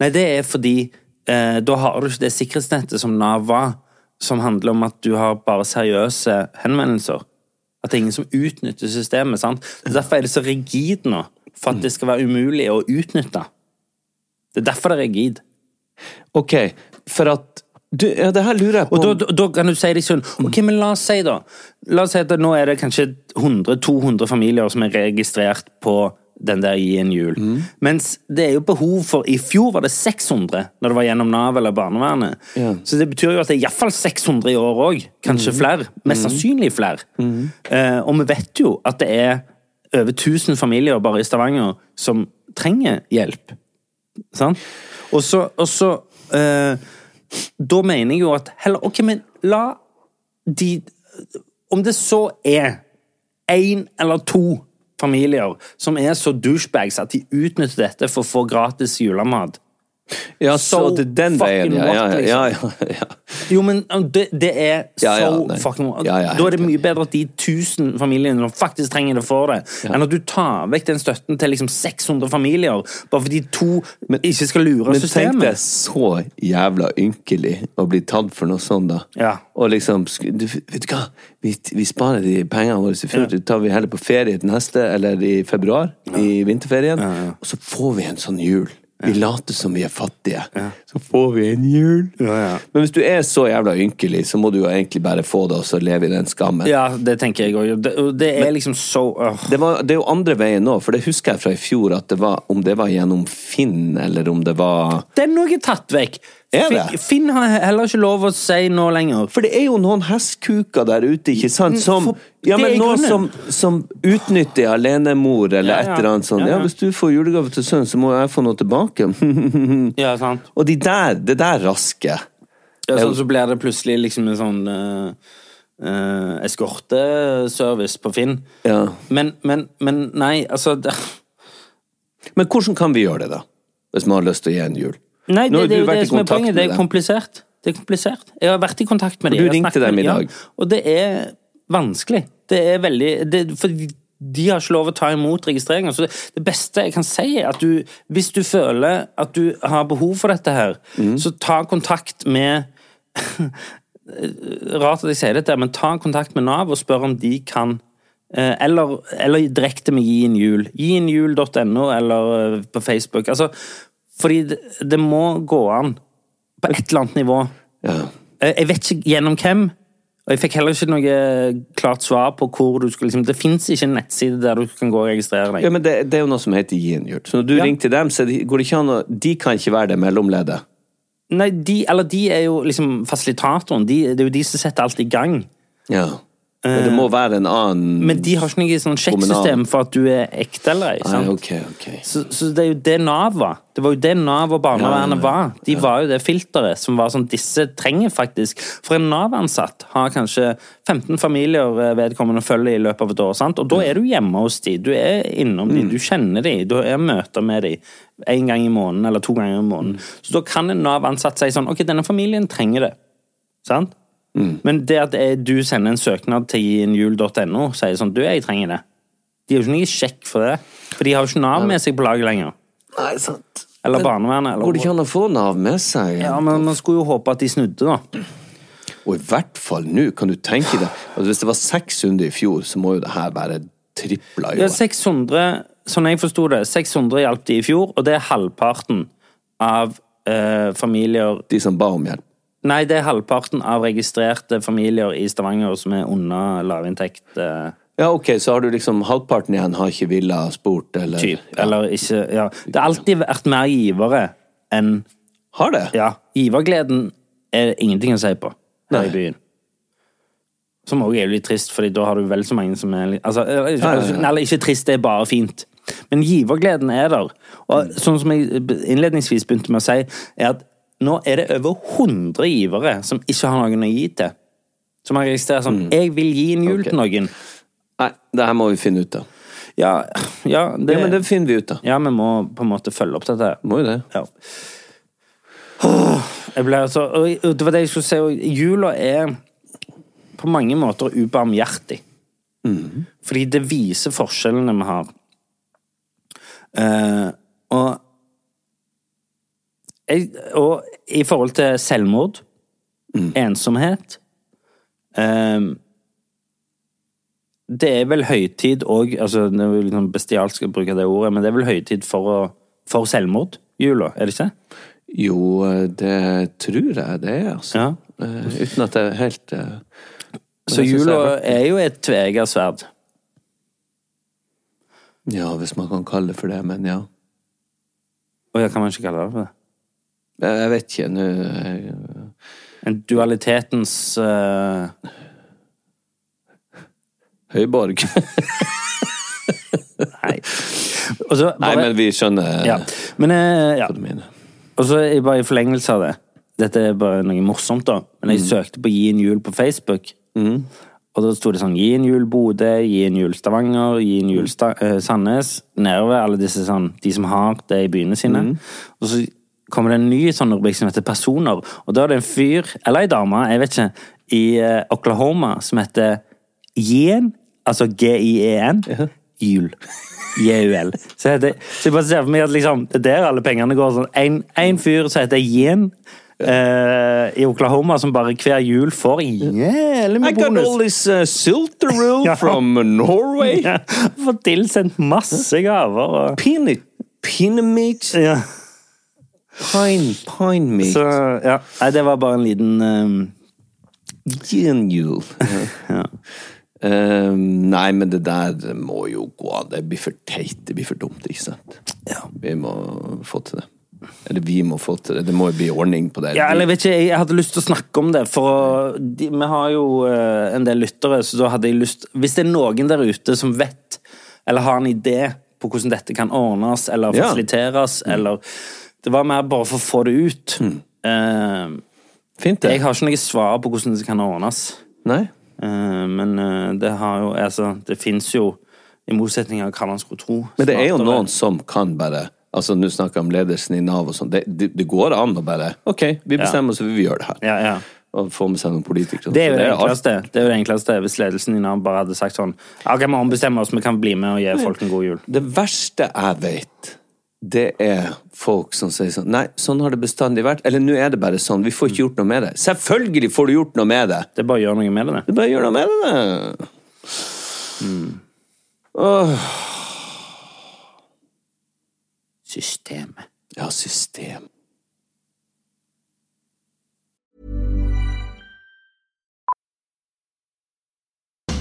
S2: Nei, det er fordi eh, da har du ikke det sikkerhetsnettet som Nav var, som handler om at du har bare seriøse henvendelser. At det er ingen som utnytter systemet. sant? Så Derfor er det så rigid nå, for at det skal være umulig å utnytte. Det er derfor det er rigid.
S3: Ok, for at du, ja, det her lurer jeg på
S2: Og da, da, da kan du si det sånn Ok, men la oss si da La oss si at nå er det kanskje 100-200 familier som er registrert på den der i en jul. Mens det er jo behov for I fjor var det 600 når det var gjennom Nav eller barnevernet. Så det betyr jo at det er iallfall 600 i år òg. Kanskje flere. Mest sannsynlig flere. Eh, og vi vet jo at det er over 1000 familier bare i Stavanger som trenger hjelp. Sant? Og så, og så eh, Da mener jeg jo at heller, Ok, men la de Om det så er én eller to familier som er så douchebags at de utnytter dette for å få gratis julemat,
S3: Ja, så
S2: So
S3: det er den
S2: fucking liksom.
S3: veien, ja. Ja,
S2: what,
S3: ja, ja, ja.
S2: Jo, men um, det, det er so
S3: Ja, ja, nei.
S2: fucking
S3: Ja, ja,
S2: Da er det
S3: helt
S2: mye bedre at de 1000 familiene som faktisk trenger det, får det, enn at du tar vekk den støtten til liksom 600 familier bare fordi to ikke skal lure
S3: Men tenk
S2: systemet.
S3: deg så jævla ynkelig å bli tatt for noe sånt, da.
S2: Ja.
S3: Og liksom sk- du, Vet du hva, vi, vi sparer de pengene våre i fjor,
S2: Ja.
S3: det tar vi heller på ferie til neste, eller i februar, i vinterferien, og så får vi en sånn jul. Vi later som vi er fattige, så får vi en jul.
S2: ja.
S3: Men hvis du er så jævla ynkelig, så må du jo egentlig bare få det, og så leve i den skammen.
S2: Ja, det tenker jeg òg. Det, og det er liksom so øh.
S3: Det, var, det er jo andre veien nå, for det husker jeg fra i fjor, at det var, om det var gjennom Finn, eller om det var
S2: Den òg er tatt vekk.
S3: Er det?
S2: Finn, Finn har heller ikke lov å si nå lenger.
S3: For det er jo noen hestkuker der ute, ikke sant? Som,
S2: Mm, For-
S3: ja,
S2: det
S3: men
S2: er
S3: noen som,
S2: grunnen.
S3: som utnytter alenemor eller
S2: Ja,
S3: et
S2: ja.
S3: eller annet sånt.
S2: Ja,
S3: Ja,
S2: ja.
S3: hvis du får julegave til sønnen, så må jeg få noe tilbake.
S2: Ja, sant.
S3: Og de der, det der raske.
S2: Ja, sånn, så blir det plutselig liksom en sånn eh, eh, eskorteservice på Finn.
S3: Ja.
S2: Men, men, men nei, altså det,
S3: Men hvordan kan vi gjøre det, da? Hvis man har lyst til å gi en jul?
S2: Nei,
S3: Nå
S2: det, det er
S3: har du
S2: jo
S3: vært
S2: det
S3: i
S2: som er
S3: kontakt
S2: poenget.
S3: med
S2: Det er
S3: dem.
S2: komplisert. Det er komplisert. Jeg har vært i kontakt med dem.
S3: Du
S2: Jeg har
S3: ringte
S2: snakket med
S3: dem i
S2: ja,
S3: dag.
S2: Og det er vanskelig. Det er veldig det, For de har ikke lov å ta imot registreringer. Så det, det beste jeg kan si, er at du, hvis du føler at du har behov for dette her,
S3: Mm.
S2: så ta kontakt med Rart at jeg sier dette, men ta kontakt med Nav og spør om de kan eh, eller, eller direkte med Gi en jul. Gienjul.no eller eh, på Facebook. Altså, fordi det, det må gå an på et eller annet nivå.
S3: Ja.
S2: Eh, Jeg vet ikke gjennom hvem, og jeg fikk heller ikke noe eh, klart svar på hvor du skulle liksom, Det fins ikke en nettside der du kan gå og registrere deg.
S3: Ja, men det, det er jo noe som heter gi en jul. Så når du
S2: Ja.
S3: ringer til dem, så er det- går det ikke an å De kan ikke være det mellomleddet.
S2: Nei, de, eller de er jo liksom fasilitatoren. De, det er jo de som setter alt i gang.
S3: Ja. Men det må være en annen
S2: Eh. Men de har ikke noe sånn sjekksystem for at du er ekte eller ei.
S3: Nei,
S2: sant?
S3: ok, ok.
S2: Så, så det er jo det Nav var. Det var jo det Nav og barnevernet var. De var jo det filteret som var sånn disse trenger faktisk. For en Nav-ansatt har kanskje 15 familier eh, vedkommende følger i løpet av et år, sant? og da er du hjemme hos de. Du er innom
S3: Mm.
S2: de, du kjenner de, du har møter med de en gang i måneden eller to ganger i måneden.
S3: Mm.
S2: Så da kan en Nav-ansatt si sånn, ok, denne familien trenger det. Sant?
S3: Mm.
S2: Men det at eh, du sender en søknad til gienjul.no, sier sånn, du, jeg trenger det. De har jo ikke noe sjekk for det. For de har jo ikke Nav med seg på laget lenger.
S3: Nei, sant.
S2: Eller
S3: Men
S2: barnevernet.
S3: Går det ikke
S2: Eller...
S3: an å få Nav med seg?
S2: Ja, men man skulle jo håpe at de snudde, da.
S3: Og i hvert fall nå, kan du tenke deg altså Hvis det var 600 i fjor, så må jo det her være tripla i
S2: Ja,
S3: år.
S2: 600, sånn jeg forsto det, 600 hjalp de i fjor, og det er halvparten av eh, familier
S3: De som ba om hjelp.
S2: Nei, det er halvparten av registrerte familier i Stavanger som er under lavinntekt. Eh,
S3: Ja, ok, så har du liksom halvparten igjen har ikke villa spurt, eller
S2: typ. Eller ikke Ja. Det har alltid vært mer givere enn
S3: Har det?
S2: Ja. Givergleden er det ingenting å si på her
S3: Nei.
S2: i byen. Som òg er jo litt trist, fordi da har du vel så mange som er litt- altså, eller, ikke, eller ikke trist, det er bare fint. Men givergleden er der.
S3: Mm.
S2: Og sånn som jeg innledningsvis begynte med å si, er at nå er det over 100 givere som ikke har noen å gi til. Som har registrert sånn 'Jeg vil gi en jul
S3: Mm. Ok.
S2: til noen'.
S3: Nei, det her må vi finne ut av.
S2: Ja, ja, det,
S3: Ja, men det finner vi ut av.
S2: ja, vi må på en måte følge opp dette.
S3: Må jo det.
S2: Ja. Åh, Jeg ble altså og Det var det jeg skulle si og Jula er på mange måter ubarmhjertig. Fordi det viser forskjellene vi har. Eh, og, jeg, og i forhold til selvmord, ensomhet eh, Det er vel høytid òg altså, Det er jo liksom bestialsk å bruke det ordet, men det er vel høytid for, å, for selvmord? Jula, er det ikke?
S3: Jo, det tror jeg det er, altså.
S2: Ja.
S3: Eh, uten at jeg helt eh,
S2: Så
S3: jeg synes det er
S2: jula
S3: hardt.
S2: er jo et tveegget sverd.
S3: Ja, hvis man kan kalle det for det, men ja.
S2: Og ja, kan man ikke kalle det for det?
S3: Jeg jeg vet ikke, nå eh,
S2: En dualitetens eh,
S3: Høyborg.
S2: Nei. Og så
S3: Nei,
S2: bare,
S3: men vi skjønner
S2: ja. Men eh, ja.
S3: hva du mener.
S2: Og så er jeg bare i forlengelse av det. Dette er bare noe morsomt, da. Men jeg søkte på Gi en jul på Facebook. Og da sto det sånn Gi en jul Bodø, gi en jul Stavanger, gi en jul Sta eh, Sandnes. Nedover alle disse sånn De som har det i byene sine. Og så kommer det en ny sånn rubrikk som heter Personer. Og da er det en fyr, eller ei dame, jeg vet ikke, i eh, Oklahoma som heter Gien, altså G-I-E-N, jul. J-U-L. Så, heter, så jeg bare ser for meg at liksom, det er der alle pengene går. Sånn. En, en fyr som heter Gien eh, i Oklahoma, som bare hver jul får jævlig
S3: I
S2: mye
S3: got all
S2: bonus.
S3: this uh, silteroo
S2: Ja.
S3: from Norway.
S2: Ja, får tilsendt masse gaver. Og,
S3: Peanut, peanut meat,
S2: ja.
S3: pine, pine
S2: Eh.
S3: meat,
S2: Så, ja. Nei, det var bare en liten eh,
S3: genjul. Um, nei, men det der må jo gå an. Det blir for teit, det blir for dumt, ikke sant? Vi må få til det. Eller vi må få til det. Det må jo bli ordning på det.
S2: Ja, eller jeg vet ikke, jeg hadde lyst til å snakke om det, for å, de, vi har jo eh, en del lyttere, så da hadde jeg lyst Hvis det er noen der ute som vet, eller har en idé på hvordan dette kan ordnes, eller
S3: Ja. Mm.
S2: fasiliteres, eller Det var mer bare for å få det ut. Eh,
S3: Fint Mm. det.
S2: jeg har ikke noe svar på hvordan det kan ordnes,
S3: Nei?
S2: Eh, men eh, det har jo Altså, det fins jo i motsetning av hva man skulle tro.
S3: Men det er jo
S2: smartere-
S3: noen som kan bare Altså, nå snakker jeg om ledelsen i Nav og sånn. Det, det, det går an å bare OK, vi bestemmer oss, vi gjør det her.
S2: Ja, ja.
S3: Og få med seg noen politikere.
S2: Det er jo det
S3: alt.
S2: enkleste. Det er jo det enkleste Hvis ledelsen i Nav bare hadde sagt sånn Ja, ok, vi ombestemmer oss, vi kan bli med og gi folk en god jul.
S3: Det verste jeg vet, det er folk som sier sånn Nei, sånn har det bestandig vært. Eller nå er det bare sånn. Vi får ikke
S2: Mm.
S3: gjort noe med det. Selvfølgelig får du gjort noe med det!
S2: Det er bare å gjøre noe med det.
S3: Du bare gjør noe med det. da.
S2: Mm.
S3: Åh.
S2: Systemet.
S3: Ja, system.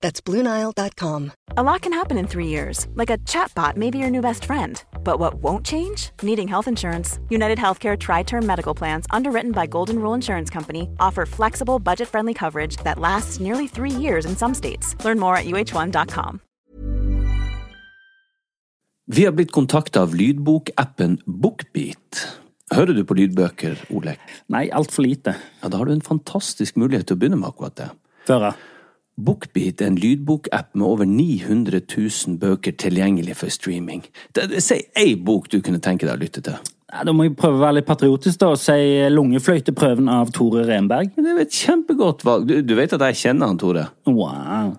S5: That's BlueNile.com.
S6: A lot can happen in three years, like a chatbot may be your new best friend. But what won't change? Needing health insurance. United Healthcare Tri Term Medical Plans, underwritten by Golden Rule Insurance Company, offer flexible, budget friendly coverage that lasts nearly three years in some states. Learn more at uh1.com.
S3: Vi har blitt kontakta av lydbokappen Bookbeat. Hører du på lydbøker, Olek?
S2: Nei, altfor lite.
S3: Ja, da har du en fantastisk mulighet til å begynne med akkurat det.
S2: Før ja.
S3: Bookbeat er en lydbokapp med over 900 000 bøker tilgjengelig for streaming. Det, det, si ei bok du kunne tenke deg å lytte til.
S2: Nei, Da må jeg prøve å være litt patriotisk da, og si eh, Lungefløyteprøven av Tore Renberg.
S3: Det er jo et kjempegodt valg. Du, du vet at jeg kjenner han, Tore?
S2: Wow.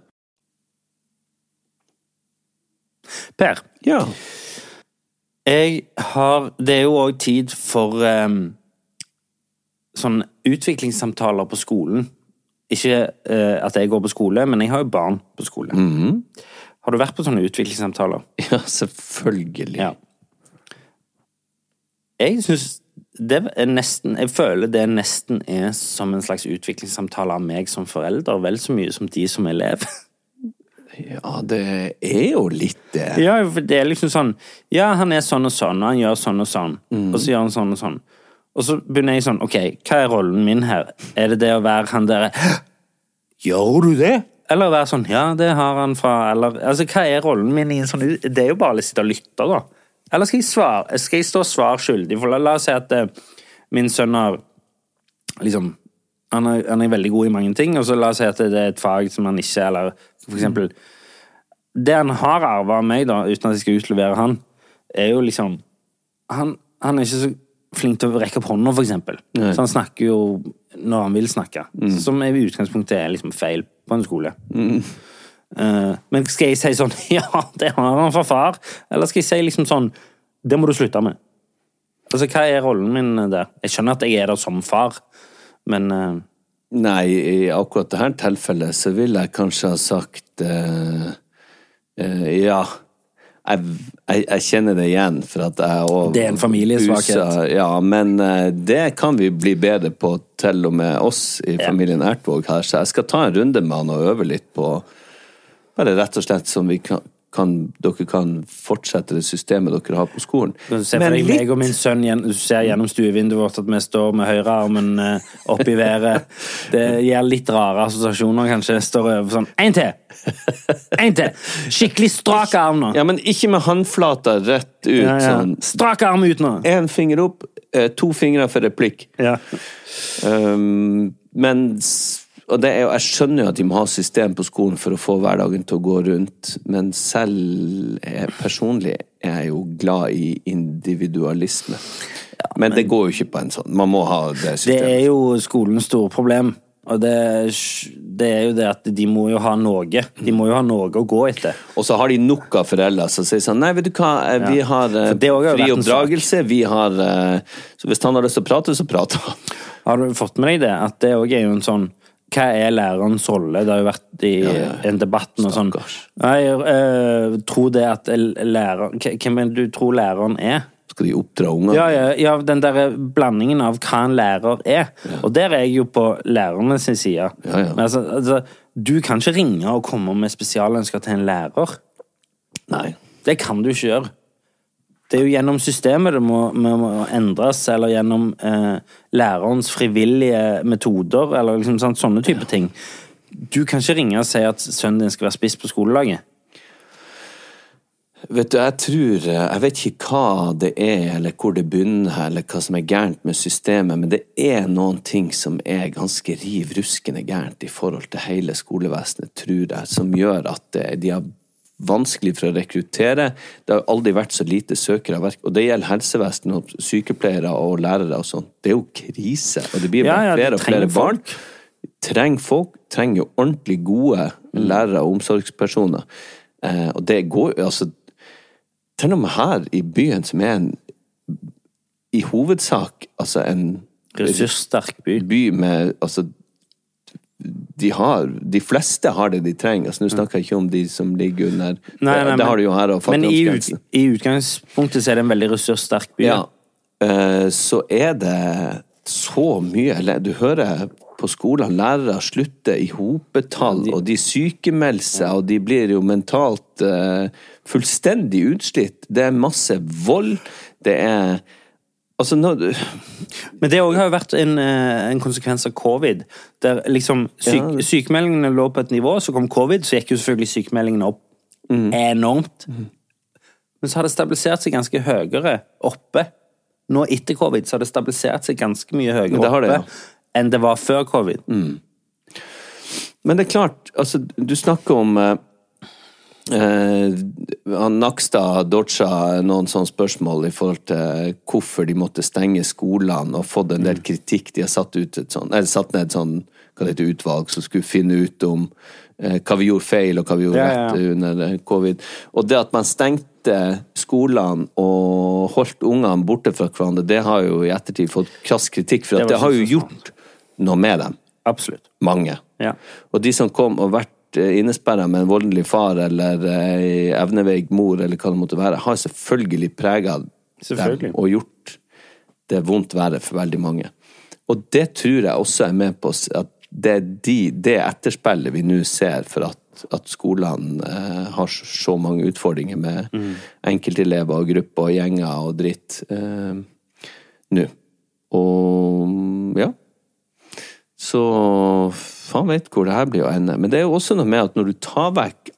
S2: Per,
S3: Ja.
S2: jeg har Det er jo òg tid for um, sånn utviklingssamtaler på skolen. Ikke eh, at jeg går på skole, men jeg har jo barn på skole. Har du vært på sånne utviklingssamtaler?
S3: Ja, selvfølgelig.
S2: Ja. Jeg syns det er nesten, jeg føler det nesten er som en slags utviklingssamtale av meg som forelder, vel så mye som de som elev.
S3: Ja, det er jo litt eh, det.
S2: Ja, for det er liksom sånn Ja, han er sånn og sånn, og han gjør sånn og sånn, og så gjør han sånn og sånn. Og så begynner jeg sånn Ok, hva er rollen min her? Er det det å være han derre Gjør du det? Eller være sånn Ja, det har han fra Eller altså, hva er rollen min i en sånn ut- Det er jo bare å sitte og lytte, da. Eller skal jeg, svare, skal jeg stå svar skyldig? For la, la oss si at eh, min sønn har liksom han er, han er veldig god i mange ting, og så la oss si at det er et fag som han ikke Eller for eksempel det han har arva av meg, da, uten at jeg skal utlevere han, er jo liksom Han, han er ikke så flink til å rekke opp hånda, for eksempel. Så han snakker jo når han vil snakke. Som i utgangspunktet er liksom feil på en skole. Eh, men skal jeg si sånn Ja, det har han fra far. Eller skal jeg si liksom sånn Det må du slutte med. Altså, hva er rollen min der? Jeg skjønner at jeg er der som far, men eh,
S3: Nei, i akkurat dette tilfellet så ville jeg kanskje ha sagt eh, eh, Ja. Jeg, jeg, jeg kjenner det igjen, for at jeg og
S2: Det er en familiesvakhet.
S3: Husa- Ja, men eh, det kan vi bli bedre på, til og med oss i familien Ertvåg her, så jeg skal ta en runde med han og øve litt på Bare rett og slett som vi kan, kan dere kan fortsette det systemet dere har på skolen.
S2: Du ser for deg meg og min sønn gjen- du ser gjennom stuevinduet vårt at vi står med høyrearmen eh, opp i været. Det gir litt rare assosiasjoner, kanskje. Står over sånn Én til! Én til! Skikkelig strak arm nå!
S3: Ja, men ikke med håndflata rett ut
S2: Ja, ja.
S3: sånn.
S2: Strak arm ut nå!
S3: Én finger opp, eh, to fingre for replikk.
S2: Ja.
S3: Um, men s- og det er, jo- jeg skjønner jo at de må ha system på skolen for å få hverdagen til å gå rundt, men selv eh, personlig er jeg jo glad i individualisme. men, det går jo ikke på en sånn. Man må ha det
S2: Det er
S3: systemet.
S2: jo skolens store problem. Og det, er sj- det er jo det at de må jo ha noe. De må jo ha noe å gå etter.
S3: Og så har de nok av foreldre som sier sånn Nei, vet du hva, eh, vi har eh,
S2: For det også har
S3: fri
S2: vært en sak.
S3: oppdragelse, vi har eh, Så hvis han har lyst til å prate, så prater han.
S2: Har du fått med deg det? At det òg er jo en sånn Hva er lærerens rolle? Det har jo vært i en debatt nå sånn
S3: Stakkars.
S2: Nei, øh, tro det at l- lærer Hva- Hvem er det du tror læreren er?
S3: Skal de oppdra ungene?
S2: Ja, ja, ja, den der blandingen av hva en lærer er. Og der er jeg jo på lærerne sin side.
S3: ja.
S2: Men altså, altså, du kan ikke ringe og komme med spesialønsker til en lærer.
S3: Nei.
S2: Det kan du ikke gjøre. Det er jo gjennom systemet det må, må, må endres, eller gjennom eh, lærerens frivillige metoder, eller liksom sånn, sånne type ting. Du kan ikke ringe og si at sønnen din skal være spiss på skolelaget.
S3: Vet du, jeg tror eh, Jeg vet ikke hva det er, eller hvor det begynner, eller hva som er gærent med systemet, men det er noen ting som er ganske riv ruskende gærent i forhold til hele skolevesenet, tror jeg, som gjør at det, de har vanskelig for å rekruttere. Det har aldri vært så lite søkere. verk- Og det gjelder helsevesenet og sykepleiere og lærere og sånn. Det er jo krise, og det blir
S2: Ja,
S3: bare
S2: ja, de
S3: flere og
S2: trenger
S3: flere barn. trenger folk, trenger jo ordentlig gode
S2: Mm.
S3: lærere og omsorgspersoner. Eh, og det går jo altså Til og med her i byen, som er en i hovedsak altså en
S2: Ressurssterk by.
S3: by med altså de, har, de fleste har det de trenger. Altså, Nå snakker jeg ikke om de som ligger under det, det har
S2: Mm. men-
S3: du jo her. Og
S2: Men i, ut,
S3: fattigdomsgrensen.
S2: i utgangspunktet så er det en veldig ressurssterk by.
S3: Ja. Eh, Så er det så mye eller Du hører på skolen lærere slutter i hopetall, og de sykemelder seg, og de blir jo mentalt eh, fullstendig utslitt. Det er masse vold. Det er Altså, nå
S2: Men det òg har jo vært en, eh, en konsekvens av covid. Der liksom syk, Sykemeldingene lå på et nivå, så kom covid, så gikk jo selvfølgelig sykemeldingene opp
S3: Mm.
S2: enormt. Men så har det stabilisert seg ganske høyere oppe. Nå etter covid så har det stabilisert seg ganske mye høyere
S3: Det Mm. har
S2: oppe
S3: det,
S2: enn det var før covid.
S3: Men det er klart, altså, du snakker om eh, eh, han Nakstad dodga noen sånne spørsmål i forhold til hvorfor de måtte stenge skolene, og fått en
S2: Mm.
S3: del kritikk. De har satt, ut et sånt, eller satt ned et sånn, hva det heter, utvalg som skulle finne ut om eh, hva vi gjorde feil, og hva vi gjorde
S2: Ja, ja, ja.
S3: rett under eh, covid. Og det at man stengte skolene og holdt ungene borte fra hverandre, det har jo i ettertid fått krass kritikk, for
S2: Det var
S3: at det har
S2: så
S3: jo gjort noe med dem.
S2: Absolutt.
S3: Mange.
S2: Ja.
S3: Og de som kom og vært eh, innesperret med en voldelig far eller eh, ei evneveik mor, eller hva det måtte være, har selvfølgelig prega dem
S2: Selvfølgelig.
S3: og gjort det er vondt verre for veldig mange. Og det tror jeg også er med på å s- at det er de, det etterspillet vi nå ser for at, at skolene eh, har så- så mange utfordringer med enkeltelever og grupper og gjenger og dritt eh, nå. Og ja. Så faen vet hvor det her blir å ende. Men det er jo også noe med at når du tar vekk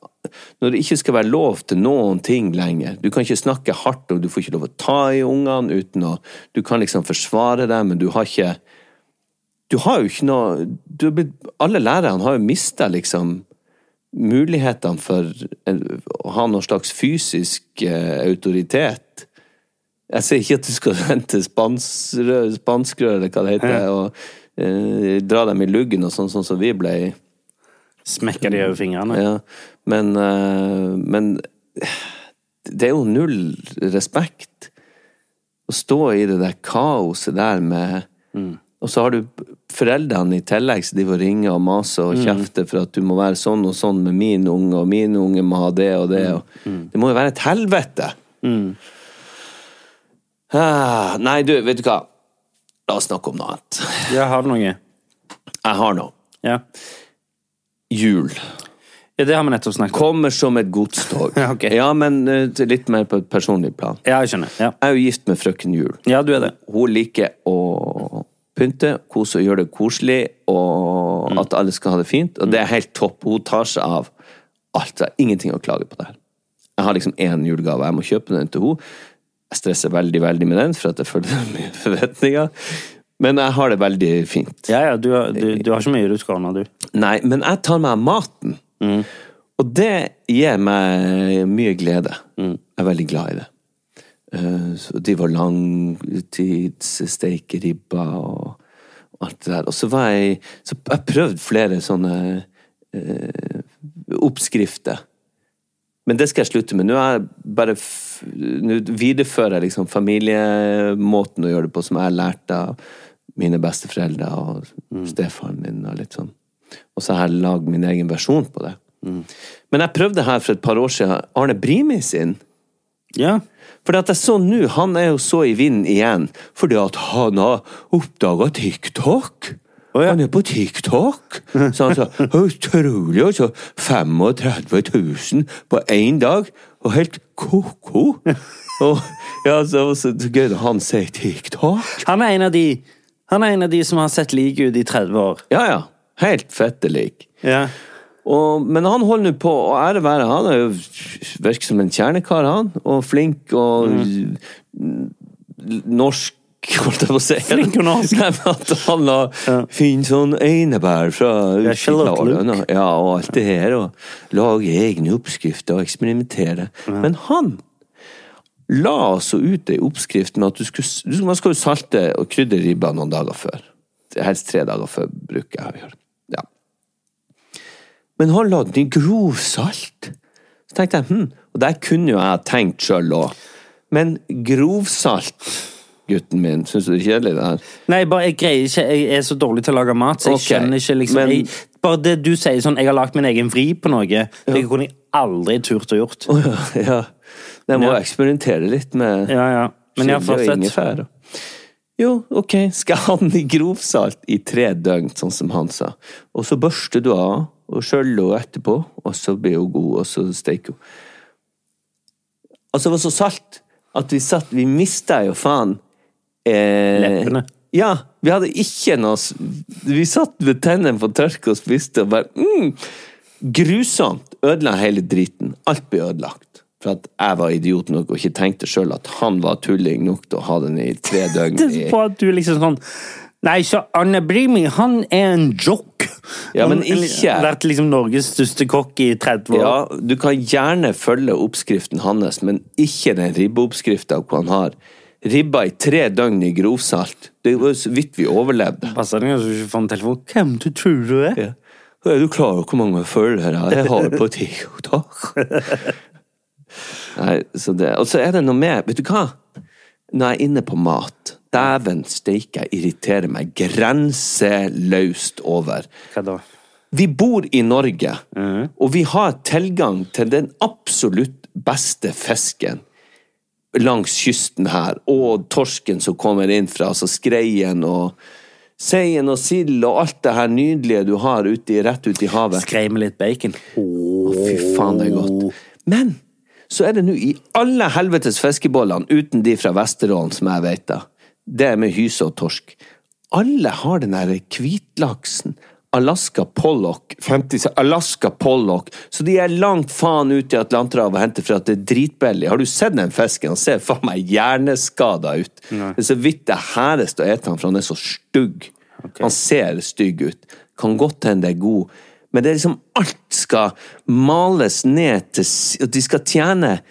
S3: Når det ikke skal være lov til noen ting lenger Du kan ikke snakke hardt, og du får ikke lov å ta i ungene uten å Du kan liksom forsvare dem, men du har ikke Du har jo ikke noe du er blitt, Alle lærerne har jo mista liksom mulighetene for eh, å ha noen slags fysisk eh, autoritet. Jeg sier ikke at du skal hente spanskrø- spanskrør, eller hva det heter, og eh, dra dem i luggen og sånn, sånn som vi ble.
S2: Smekker de over fingrene.
S3: Ja. Men, eh, men det er jo null respekt å stå i det der kaoset der med Og så har du foreldrene i tillegg som driver og ringer og maser og kjefter for at du må være sånn og sånn med min unge, og mine unge må ha det og det. Og, Det må jo være et helvete! Ah, nei, du, vet du hva? La oss snakke om noe annet.
S2: Ja, har du noe?
S3: Jeg har noe.
S2: Ja.
S3: Jul.
S2: ja, det har vi nettopp snakket om.
S3: Kommer som et godstog.
S2: Ja, ok.
S3: ja, men eh, litt mer på et personlig plan.
S2: Ja, jeg skjønner. Ja.
S3: Jeg er jo gift med frøken Jul.
S2: ja, du er det.
S3: Hun liker å pynte, kose og gjøre det koselig,
S2: Mm.
S3: og at alle skal ha det fint. Og det er helt topp. Hun tar seg av alt. Jeg har ingenting å klage på der. Jeg har liksom én julegave. Jeg må kjøpe den til henne. Jeg stresser veldig, veldig med den, for at jeg føler det er mye forventninger. Men jeg har det veldig fint.
S2: Ja, ja, du, har- du, du har ikke mye du skal ordne, du.
S3: Nei, men jeg tar meg av maten. Og det gir meg mye glede. Jeg er veldig glad i det. Eh, Så de var langtidssteike ribba og og alt det der. Og så var jeg Så jeg prøvde flere sånne eh, oppskrifter. Men det skal jeg slutte med. Nå, er jeg bare, f- nå viderefører jeg liksom familiemåten å gjøre det på, som jeg lærte av mine besteforeldre og stefaren min. Og litt sånn. Og så har jeg lagd min egen versjon på det. Men jeg prøvde her for et par år siden Arne Brimi sin.
S2: Ja.
S3: For at jeg så nå, han er jo så i vinden igjen, fordi at han har oppdaga TikTok. Han er på TikTok! Så han sa utrolig, altså. 35 000 på én dag. Og helt ko-ko. Og, ja, så, var det så gøy at han sier TikTok.
S2: Han er en av de Han er en av de som har sett lik ut i 30 år.
S3: Ja, ja. Helt fette lik.
S2: Ja.
S3: Og, men han holder nå på, og ære være han, er jo virker som en kjernekar, han. Og flink og norsk, holdt jeg på å si.
S2: Mm. Flink og norsk.
S3: Nei, men at han la fin sånn einebær fra
S2: Ja, Charlotte
S3: Skilagen,
S2: Luke.
S3: Ja, og alt det her, og lage egne oppskrifter og eksperimentere. Men han la altså ut ei oppskrift med at du skulle, du, man skal jo salte og krydre ribba noen dager før. Helst tre dager før bruker jeg å gjøre det. Ja. Men han lagde den i grovsalt. Så tenkte jeg, hm, og der kunne jo jeg ha tenkt sjøl òg. Men grovsalt, gutten min, syns du det er kjedelig det her?
S2: Nei, bare, jeg greier ikke Jeg er så dårlig til å lage mat, så jeg
S3: Ok,
S2: skjønner ikke liksom
S3: men-
S2: jeg, Bare det du sier sånn Jeg har lagd min egen vri på noe. Det kunne jeg aldri turt å gjort.
S3: Å ja, ja. Jeg må eksperimentere litt med
S2: Ja, ja. Men jeg har
S3: chili og
S2: fortsatt
S3: ingefær. og- Jo, ok, skal han i grovsalt i tre døgn, sånn som han sa. Og så børster du av og skjøller henne etterpå, og så blir hun god, og så steker hun. Altså, det var så salt at vi satt Vi mista jo faen eh,
S2: Leppene.
S3: Ja. Vi hadde ikke noe s- Vi satt med tennene på tørk og spiste og bare mm, Grusomt! Ødela hele driten. Alt ble ødelagt. For at jeg var idiot nok og ikke tenkte sjøl at han var tulling nok til å ha den i tre døgn.
S2: Det
S3: i-
S2: er på at du liksom sånn Nei, så Arne Brimi, han er en joke.
S3: Ja, men
S2: Han har
S3: ikke-
S2: Vært liksom Norges største kokk i 30 år.
S3: Ja, du kan gjerne følge oppskriften hans, men ikke den ribbeoppskrifta hvor han har ribba i tre døgn i grovsalt. Det var jo så vidt vi overlevde.
S2: Passer det at du ikke får en telefon? Hvem du tror du er?
S3: Ja. Er du klar over hvor mange følgere jeg har på TikTok? Nei, så det, og så er det noe med Vet du hva? Når jeg er inne på mat Dæven steike, jeg irriterer meg grenseløst over.
S2: Hva da?
S3: Vi bor i Norge, og vi har tilgang til den absolutt beste fisken langs kysten her, og torsken som kommer inn fra, altså skreien og seien og sild og alt det her nydelige du har ute, i- rett ute i havet.
S2: Skrei med litt bacon.
S3: Å, fy faen, det er godt. Men så er det nå i alle helvetes fiskebollene, uten de fra Vesterålen som jeg vet av, det er med hyse og torsk. Alle har den derre hvitlaksen. Alaska pollock. 50, se- Alaska pollock. Så de er langt faen ute i Atlanterhavet og henter for at det er dritbillig. Har du sett den fisken? Han ser faen meg hjerneskada ut. Det er så vidt det hæres å ete han, for han er så stygg. Han ser stygg ut. Kan godt hende det er god. Men det er liksom alt skal males ned til s- At de skal tjene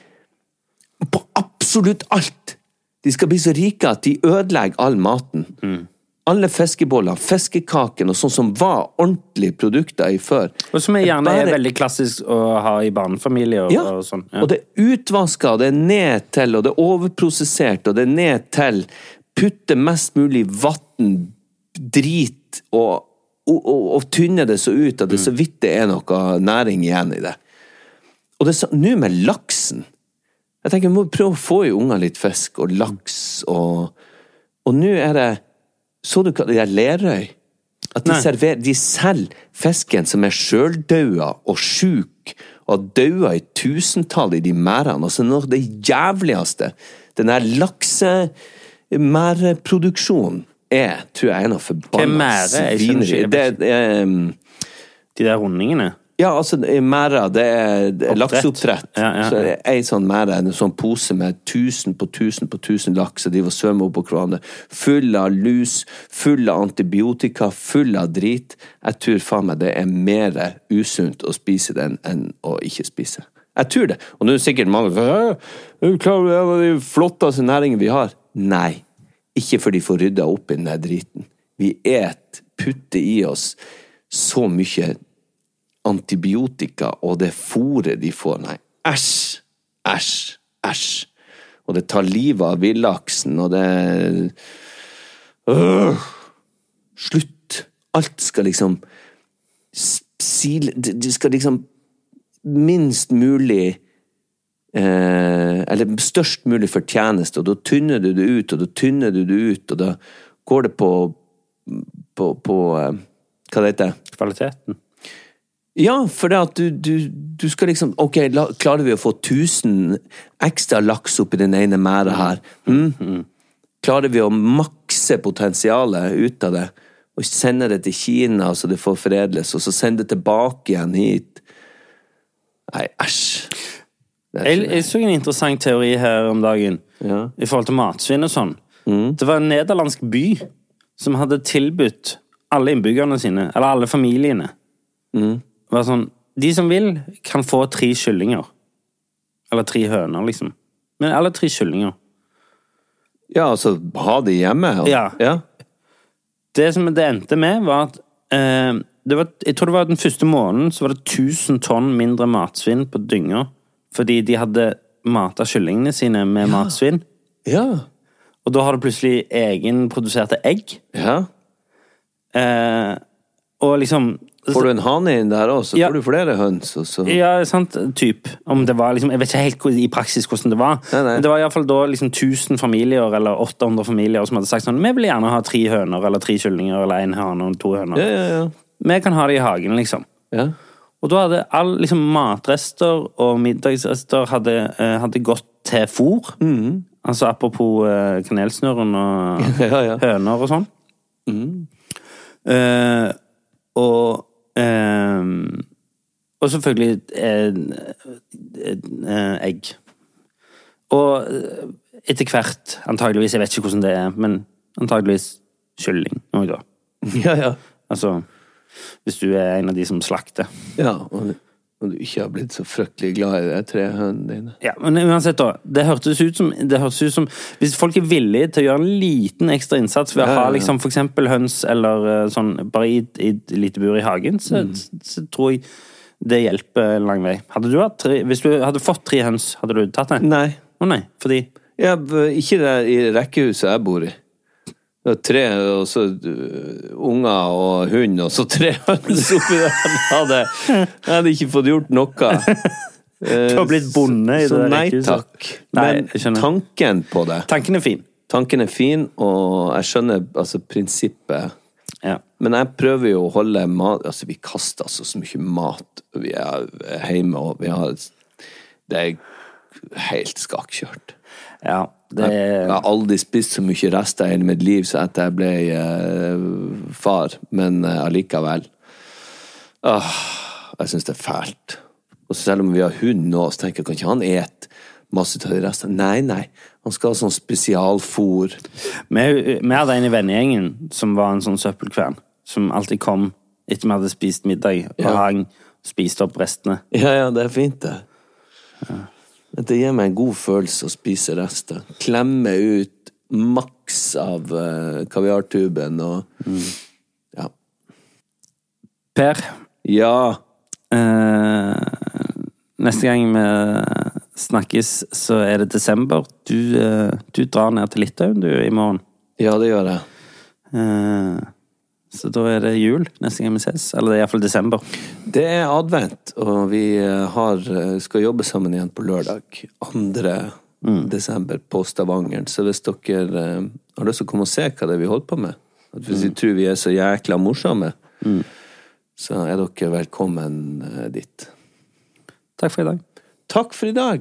S3: på absolutt alt! De skal bli så rike at de ødelegger all maten.
S2: Mm.
S3: Alle fiskeboller, fiskekaken og sånn som var ordentlige produkter i før.
S2: Og som er gjerne
S3: Bare-
S2: er veldig klassisk å ha i barnefamilier og,
S3: ja.
S2: og sånn.
S3: Og det er utvaska, det er ned til, og det er overprosessert, og det er ned til Putte mest mulig vann, drit, og, og, og, og tynne det så ut at
S2: Mm.
S3: det så vidt det er noe næring igjen i det. Og det er så- nå med laksen Jeg tenker vi må prøve å få i ungene litt fisk og laks og Og nå er det Så du hva det der Lerøy? At de,
S2: Nei.
S3: server, de selger fisken som er sjøldaua og sjuk, og har daua i tusentall i de merdene, og så noe av det jævligste den der laksemerdproduksjonen er, tror jeg, er noe
S2: Hva er
S3: forbanna
S2: merde? Jeg skjønner
S3: svineri.
S2: ikke.
S3: Det er um, em,
S2: De der rundingene.
S3: ja, altså merder, det er det er lakseoppdrett.
S2: Ja, ja, ja.
S3: Så er det ei sånn merde, en sånn pose med tusen på tusen på tusen laks, og de var svømme opp på hverandre. Full av lus, full av antibiotika, full av drit. Jeg tror faen meg det er mer usunt å spise den enn å ikke spise. Jeg tror det. Og nå er det sikkert mange som sier «Hæ? Er du klar over det er en av de flotteste næringene vi har? Nei. Ikke for de får rydda opp i den der driten. Vi et, putter i oss så mye antibiotika og det fôret de får. Nei, æsj! Æsj! Æsj! Og det tar livet av villaksen, og det øh, Slutt! Alt skal liksom s- sile Det det skal liksom minst mulig eh, Eller størst mulig fortjeneste, og da tynner du det ut, og da tynner du det ut, og da går det på på, på eh, Hva det heter det?
S2: Kvaliteten.
S3: Ja, for det at du, du, du skal liksom Ok, la, klarer vi å få 1000 ekstra laks oppi den ene merda her? Mm. Klarer vi å makse potensialet ut av det? Og sende det til Kina, så det får foredles, og så sende det tilbake igjen hit? Nei, æsj. Det er
S2: Jeg,
S3: ikke det.
S2: jeg så en interessant teori her om dagen
S3: Ja. Mm.
S2: i forhold til matsvinn og sånn. Det var en nederlandsk by som hadde tilbudt alle innbyggerne sine, eller alle familiene
S3: Mm.
S2: Det var sånn, De som vil, kan få tre kyllinger. Eller tre høner, liksom. Men alle tre kyllinger.
S3: ja, altså, ha det hjemme? Og,
S2: Ja.
S3: ja.
S2: Det som det endte med, var at eh, det var, Jeg tror det var den første måneden så var det 1000 tonn mindre matsvinn på dynga fordi de hadde mata kyllingene sine med matsvinn.
S3: Ja.
S2: Og da har du plutselig egenproduserte egg.
S3: ja.
S2: Eh, og liksom
S3: Får du en hane inn der òg, så
S2: Ja.
S3: får du flere høns, og så
S2: Ja, sant? Typ. Om det var liksom, jeg vet ikke helt hvor- i praksis hvordan det var.
S3: Nei, nei.
S2: Men det var iallfall da liksom 1000 familier eller 800 familier som hadde sagt sånn Vi vil gjerne ha tre høner eller tre kyllinger eller en hane og to høner.
S3: Ja, ja, ja.
S2: Vi kan ha det i hagen, liksom.
S3: ja.
S2: Og da hadde all liksom, matrester og middagsrester hadde, eh, hadde gått til fôr. Altså apropos eh, kanelsnurren og
S3: Mhm. Ja, ja. Mhm.
S2: høner og sånn. Eh, og eh, Og selvfølgelig eh, eh, egg. Og eh, etter hvert, antageligvis, jeg vet ikke hvordan det er, men antageligvis kylling òg, da.
S3: ja, ja.
S2: Altså hvis du er en av de som slakter.
S3: Ja, og, og du ikke har blitt så fryktelig glad i de tre hønene dine.
S2: Ja, men uansett da, det hørtes ut som, det hørtes ut som Hvis folk er villige til å gjøre en liten ekstra innsats ved å
S3: Ja, ja,
S2: ha
S3: ja.
S2: liksom, for eksempel høns eller eh, sånn bare i, i et lite bur i hagen, så,
S3: Mm.
S2: så tror jeg det hjelper en lang vei. Hadde du hatt tre, hvis du hadde fått tre høns, hadde du tatt det?
S3: Nei.
S2: Å nei, fordi
S3: Ja, b- ikke der i rekkehuset jeg bor i. Det var tre, og så øh, unger og hund, og så tre høns oppi der. Jeg hadde, jeg hadde ikke fått gjort noe.
S2: Du har blitt bonde i det
S3: Eh, Så
S2: der
S3: nei
S2: rekkehuset.
S3: takk.
S2: Nei,
S3: Men
S2: jeg skjønner.
S3: tanken på det
S2: Tanken er fin.
S3: Tanken er fin, og jeg skjønner altså prinsippet.
S2: Ja.
S3: Men jeg prøver jo å holde mat Altså, vi kaster altså så mye mat. Vi er hjemme, og vi har Det er helt skakkjørt.
S2: ja det
S3: Jeg, jeg
S2: er
S3: har aldri spist så mye rester i hele mitt liv så etter jeg ble eh, far, men eh, allikevel Åh, Jeg syns det er fælt. Og selv om vi har hund nå, så tenker jeg kan ikke han et masse av de restene? Nei, nei. Han skal ha sånn spesialfôr.
S2: vi, vi hadde en i vennegjengen som var en sånn søppelkvern, som alltid kom etter vi hadde spist middag, og
S3: Ja.
S2: hang og spiste opp restene.
S3: Ja, ja, det er fint, det. Men Det gir meg en god følelse å spise rester. Klemme ut maks av eh, kaviartuben og Ja.
S2: Per,
S3: Ja!
S2: eh, neste gang vi snakkes, så er det desember. Du, eh, du drar ned til Litauen, du, i morgen.
S3: Ja, det gjør jeg.
S2: Eh, så da er det jul neste gang vi ses. Eller det er iallfall desember.
S3: Det er advent, og vi eh, har, eh, skal jobbe sammen igjen på lørdag. 2.
S2: Mm.
S3: desember på Stavangeren. Så hvis dere eh, har lyst til å komme og se hva det er vi holder på med at Hvis vi
S2: Mm.
S3: tror vi er så jækla morsomme, så er dere velkommen eh, dit.
S2: Takk for i dag.
S3: Takk for i dag!